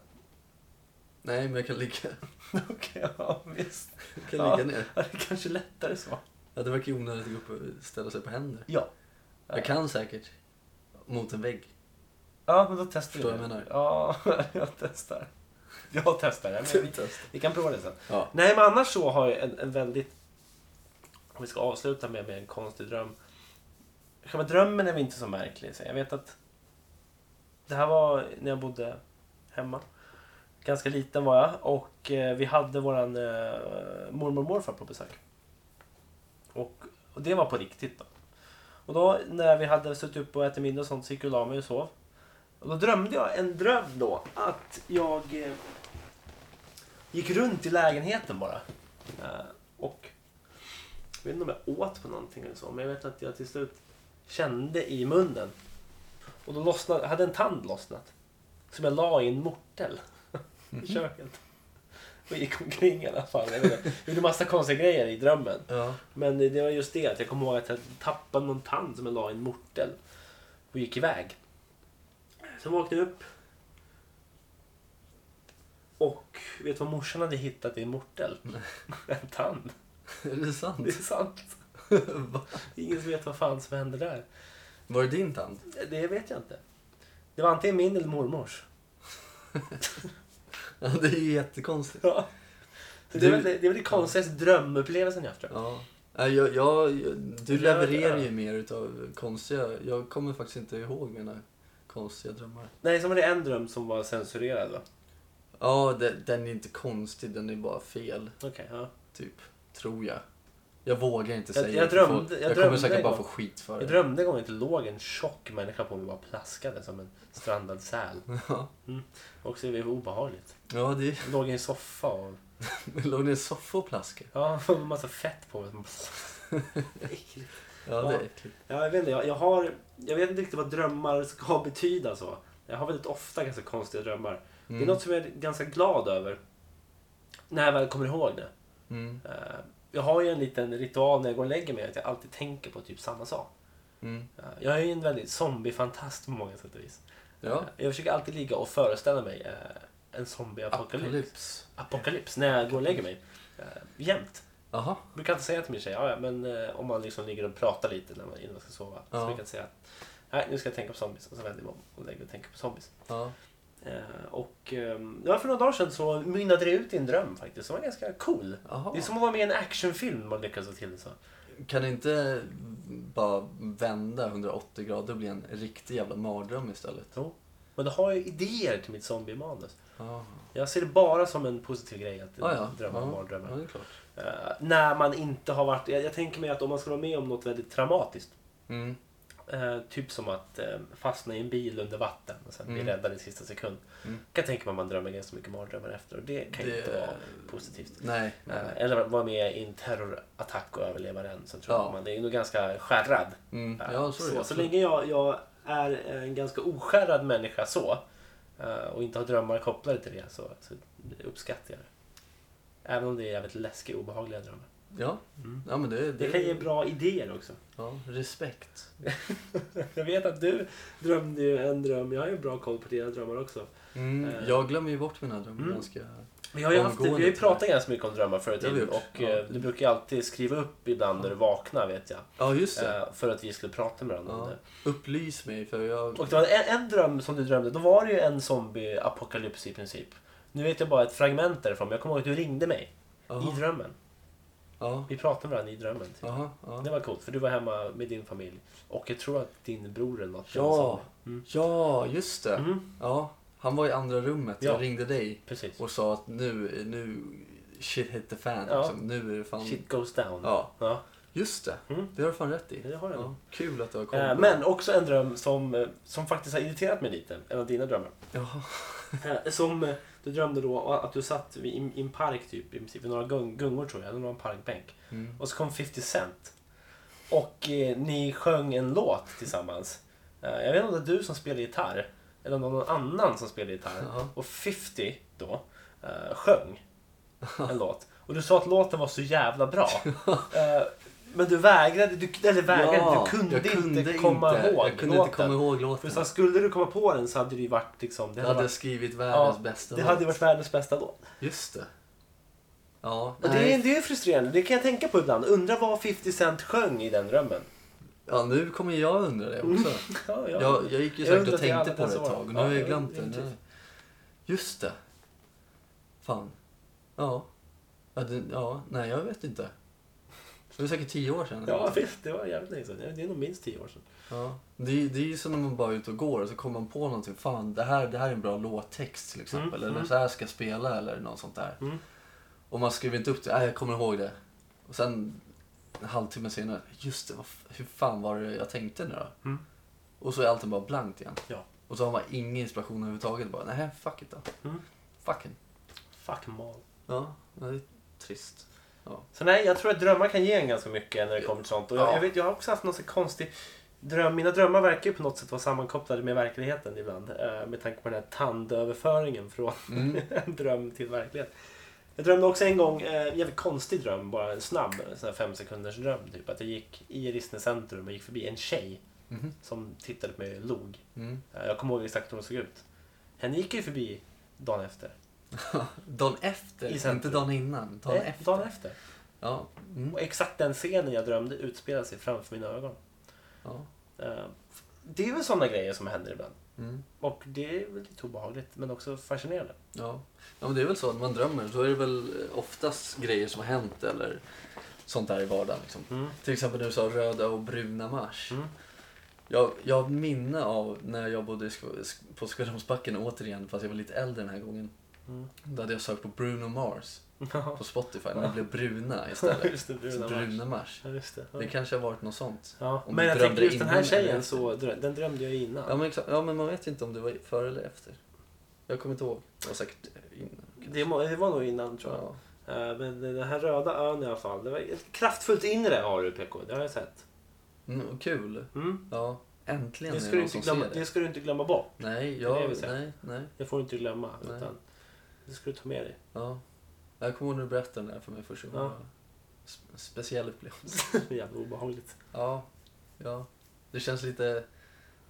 Nej, men jag kan ligga,
Okej, ja visst.
jag kan
Ja.
ligga ner.
Ja, det är kanske lättare så.
Ja, det verkar ju onödigt att gå upp och ställa sig på händer.
Ja.
Jag kan säkert. Mot en vägg.
Ja, men då testar
Förstår
vi.
vad jag menar?
Ja, jag testar. Jag testar. det, Men vi, vi kan prova det sen.
Ja.
Nej, men annars så har jag en, en väldigt... Om vi ska avsluta med, med en konstig dröm. Själva drömmen är väl inte så märklig. Så jag vet att... Det här var när jag bodde hemma. Ganska liten var jag. Och eh, vi hade våran eh, mormor och morfar på besök. Och, och det var på riktigt då. Och då när vi hade suttit upp och ätit middag och sånt så gick jag och la mig och sov. Och då drömde jag en dröm då att jag eh, gick runt i lägenheten bara. Eh, och jag vet inte om jag åt på någonting eller så men jag vet att jag till slut kände i munnen. Och då lossnade, hade en tand lossnat. Som jag la i en mortel i köket. Och gick omkring i alla fall. Jag vet inte. gjorde massa konstiga grejer i drömmen.
Ja.
Men det var just det att jag kommer ihåg att jag tappade någon tand som jag la i en mortel och gick iväg. Sen vaknade jag upp. Och vet du vad morsan hade hittat i en mortel? En tand.
Är det
Det är
sant?
sant.
Va?
Ingen som vet vad fan som hände där.
Var det din tand?
Det vet jag inte. Det var antingen min eller mormors.
Ja, det är ju jättekonstigt.
Ja. Så
Du-
det, är väl, det är väl det konstigaste drömupplevelsen jag haft tror jag.
Ja. Nej, Jag, jag, jag, du
Ja,
levererar
ja.
ju mer utav konstiga... Jag kommer faktiskt inte ihåg mina konstiga drömmar.
Nej, sen var det en dröm som var censurerad va?
Ja, de- den är inte konstig, den är bara fel.
Okej, ja.
Typ, tror jag. Jag vågar inte
Jag-
säga.
jag
för får-
drömde- jag
jag
drömde
kommer säkert
en
bara
gång.
få skit för
Jag
det.
drömde en gång att det låg en tjock människa på mig och bara plaskade som en strandad säl.
Ja.
Mm. Också det var obehagligt.
Ja, det
Låg i en soffa och
låg det en soffa och plaskade.
ja, det var en massa fett på mig. Äckligt.
Ja, det
Ja.
är äckligt.
Ja, jag vet inte, jag, jag, har, jag vet inte riktigt vad drömmar ska betyda så. Jag har väldigt ofta ganska konstiga drömmar. Det
Mm.
är något som jag är ganska glad över. När jag väl kommer ihåg det.
Mm.
Eh, Jag har ju en liten ritual när jag går och lägger mig att jag alltid tänker på typ samma sak.
Mm.
Eh, Jag är ju en väldigt zombiefantast på många sätt och vis.
Ja.
Jag försöker alltid ligga och föreställa mig eh, en zombieapokalyps. Apokalyps.
Apokalyps.
när jag går och lägger mig. Eh, jämt.
Jaha.
Jag brukar inte säga till min tjej, ja, ja, men eh, om man liksom ligger och pratar lite när man, innan man ska sova.
Ja.
Så brukar jag säga att nej, nu ska jag tänka på zombies. Och så vänder jag mig om och lägger och tänker på zombies.
Ja.
Eh, och eh, det var för några dagar sedan så mynnade det ut i en dröm faktiskt. Som var ganska cool.
Jaha.
Det är som att vara med i en actionfilm man lyckas få till det så.
Kan det inte bara vända 180 grader och bli en riktig jävla mardröm istället?
Jo. Men då har jag idéer till mitt zombie-manus.
Ja,
Jag ser det bara som en positiv grej att
ja. ja.
drömma om mardrömmar.
Ja, det är klart.
Eh, när man inte har varit... Jag, jag tänker mig att om man ska vara med om något väldigt traumatiskt.
Mm.
Eh, typ som att eh, fastna i en bil under vatten och sen bli
Mm.
räddad i sista sekund.
Mm.
Kan jag tänka mig att man drömmer ganska mycket mardrömmar efter och det kan ju
Det-
inte vara positivt.
Nej. nej, nej.
Eh, eller vara med i en terrorattack och överleva den. Så tror
Ja.
jag man, det är nog ganska skärrad.
Mm.
Eh,
Ja, så är det.
så, så länge jag, jag är en ganska oskärrad människa så eh, och inte har drömmar kopplade till det så, så uppskattar jag det. Även om det är jävligt läskiga och obehagliga drömmar.
Ja. ja, men det, det,
Mm. Det kan ge bra idéer också.
ja, respekt.
Jag vet att du drömde ju en dröm. Jag har ju bra koll på dina drömmar också.
Mm.
Eh.
Jag glömmer ju bort mina drömmar
Mm.
ganska...
Vi har ju, haft, vi har ju
Omgående,
pratat ganska mycket om drömmar förut
Det har vi gjort.
och
Ja.
eh, du brukar ju alltid skriva upp ibland när du vaknar vet jag.
Ja, just det.
Eh, För att vi skulle prata med varandra om
Ja.
det.
Upplys mig för jag...
Och det var en, en dröm som du drömde, då var det ju en zombie-apokalyps i princip. Nu vet jag bara ett fragment därifrån, men jag kommer ihåg att du ringde mig i
Jaha.
drömmen.
Ja.
Vi pratade med varandra i drömmen. Typ.
Jaha. Ja.
Det var coolt, för du var hemma med din familj. Och jag tror att din bror eller något var
Ja.
zombie. Mm.
ja, just det.
Mm.
Ja, han var i andra rummet.
Ja.
Jag ringde dig
Precis.
och sa att nu, nu shit hit the fan.
Ja.
Liksom. Nu är det fan...
Shit goes down.
Ja.
Ja.
Just det,
Mm.
det har du fan rätt i.
Det har jag nog.
Kul att du har koll.
Eh, Men också en dröm som, eh, som faktiskt har irriterat mig lite, en av dina drömmar.
Jaha.
Eh, Som eh, du drömde då att du satt vid- i i en park typ, i princip, vid några gung- gungor tror jag, eller någon parkbänk.
Mm.
Och så kom 50 Cent. Och eh, ni sjöng en låt tillsammans. Eh, jag vet inte om det var du som spelade gitarr, eller om det var någon annan som spelade gitarr.
Jaha.
Och 50 då, eh, sjöng en låt. Och du sa att låten var så jävla bra. Eh, men du vägrade, du, eller vägrade,
Ja,
du kunde,
jag
inte komma ihåg
Jag kunde
låten.
inte komma ihåg
För
låten.
så här, skulle du komma på den så hade det ju varit liksom... Det
Jag
hade
hade
varit,
skrivit världens
Ja,
bästa
det
låt.
hade ju varit världens bästa låt.
Just det. Ja,
Och det,
nej.
är, det är frustrerande, det kan jag tänka på ibland. Undrar vad 50 Cent sjöng i den drömmen.
ja, nu kommer jag undra det också.
Mm. Ja, ja.
Jag, jag gick ju
Jag
säkert
undrar
och
till alla
tänkte på det ett
dessa år.
tag. och Nu
Ja,
har jag
jag
glömt
undrar till.
det. Just det. Fan. Ja. Ja, det, ja, nej jag vet inte. Det var säkert tio år sedan.
ja visst, det var jävligt länge sedan. Det är nog minst 10 år sedan.
Ja. Det, är- det är ju som när man bara är ute och går och så kommer man på någonting. Fan, det här, det här är en bra låttext till exempel.
Mm,
Eller
mm.
så här ska jag spela eller något sånt där.
Mm.
Och man skriver inte upp det. Nej, jag kommer ihåg det. Och sen en halvtimme senare. Just det, vad, f- hur fan var det jag tänkte nu då?
Mm.
Och så är allting bara blankt igen.
Ja.
Och så har man ingen inspiration överhuvudtaget. Bara, nej, fuck it då.
Mm.
Fucking.
Fuck mal.
Ja, det är trist.
Så nej, jag tror att drömmar kan ge en ganska mycket när det kommer till sånt. Och jag,
Ja.
jag, vet, jag har också haft någon så konstig dröm. Mina drömmar verkar ju på något sätt vara sammankopplade med verkligheten ibland. Eh, med tanke på den här tandöverföringen från
Mm.
en dröm till verklighet. Jag drömde också en gång, eh, en jävligt konstig dröm, bara en snabb, en sån här fem sekunders dröm typ. Att jag gick i Rissne centrum och gick förbi en tjej
Mhm.
som tittade på mig och log.
Mm.
Eh, jag kommer ihåg exakt hur hon såg ut. Henne gick jag ju förbi dagen efter.
Dagen efter,
I centrum.
inte dagen innan. Dagen
Nej,
efter.
Eh, Dagen efter.
Ja. Mm.
Och exakt den scenen jag drömde utspelade sig framför mina ögon.
ja.
Eh, Det är väl sådana grejer som händer ibland.
Mm.
Och det är väl lite obehagligt men också fascinerande.
Ja. ja, men det är väl så att man drömmer. Då är det väl eh, oftast grejer som har hänt eller sånt där i vardagen. Liksom.
Mm.
Till exempel när du sa röda och bruna mars.
Mm.
Jag, jag har minne av när jag bodde i Sk- Sk- på Skedholmsbacken återigen, fast jag var lite äldre den här gången.
Mm.
Då hade jag sökt på Bruno Mars
Ja,
på Spotify, när det blev bruna istället.
just det.
bruna,
Bruna Mars.
bruna mars.
Ja, just det. Ja.
Det kanske har varit något sånt.
Ja.
Om
Men
du
jag tänker
drömde
just den här
innan eller
tjejen,
efter.
så, drö- den drömde jag ju innan.
Ja men, exakt. ja, men man vet ju inte om det var före eller efter. Jag kommer inte ihåg. Det var säkert innan.
Det, må- det var nog innan tror jag.
Ja.
Eh, Men den här röda ön i alla fall. Det var ett kraftfullt inre har du PK. Det har jag sett.
Mm, och kul.
Mm.
Ja, äntligen
Det,
är
ska
det
du
någon
inte
som
glömma,
ser
det
det.
ska du inte glömma bort.
Nej,
det är
ja,
vi säger.
nej, nej.
Det får du inte glömma.
Nej.
Utan det ska du ta med dig.
Ja. Jag kommer ihåg när du berättade den där för mig första gången.
Ja.
Sp- Speciell upplevelse.
Det är jävla obehagligt.
Ja, ja. Det känns lite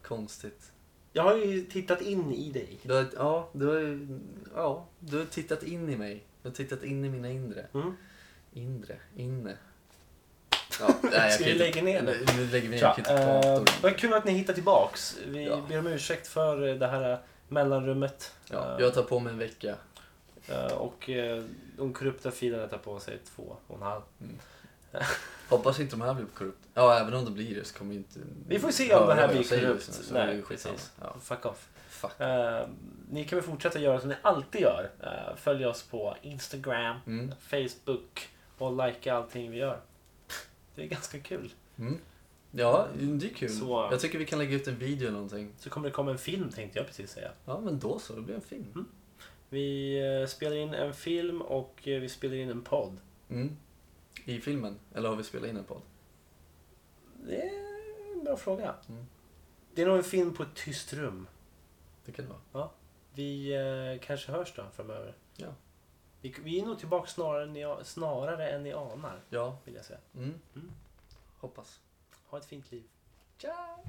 konstigt.
Jag har ju tittat in i dig.
Du har, ja, du har, ju- ja, du har tittat in i mig. Du har tittat in i mina inre.
Mm.
Inre? Inne? Ja, nej, jag kan
Ska vi
inte-
lägga ner det?
Nu lägger vi ner.
Tja,
Jag kan inte prata om
eh,
det.
vad kul att ni hittar tillbaks. Vi
Ja.
ber om ursäkt för eh, det här eh, mellanrummet.
Ja,
Eh,
jag tar på mig en vecka.
eh, och eh, de korrupta filerna tar på sig två och en halv.
Hoppas inte de här blir korrupt. Ja, även om de blir det så kommer ju inte...
Vi får se om det här
höra vad
blir
jag säger,
korrupt.
Så, så är det
Nej,
ju skitsamma.
precis.
Ja,
Fuck off.
fuck.
Eh, ni kan väl fortsätta göra som ni alltid gör. Eh, följ oss på Instagram,
Mm.
Facebook och likea allting vi gör. Det är ganska kul.
Mm. Ja, det är kul.
Så-
Jag tycker vi kan lägga ut en video eller någonting.
Så kommer det komma en film tänkte jag precis säga.
Ja, men då så. Det blir en film.
Vi eh, spelar in en film och eh, vi spelar in en podd.
Mm. I filmen. Eller har vi spelat in en podd?
Det är en bra fråga.
Mm.
Det är nog en film på ett tyst rum.
Det kan det vara.
Vi eh, kanske hörs då framöver.
Ja.
Vi, vi är nog tillbaka snarare än, ni, snarare än ni anar,
Ja.
vill jag säga.
Mm.
Mm.
Hoppas.
Ha ett fint liv.
Ciao!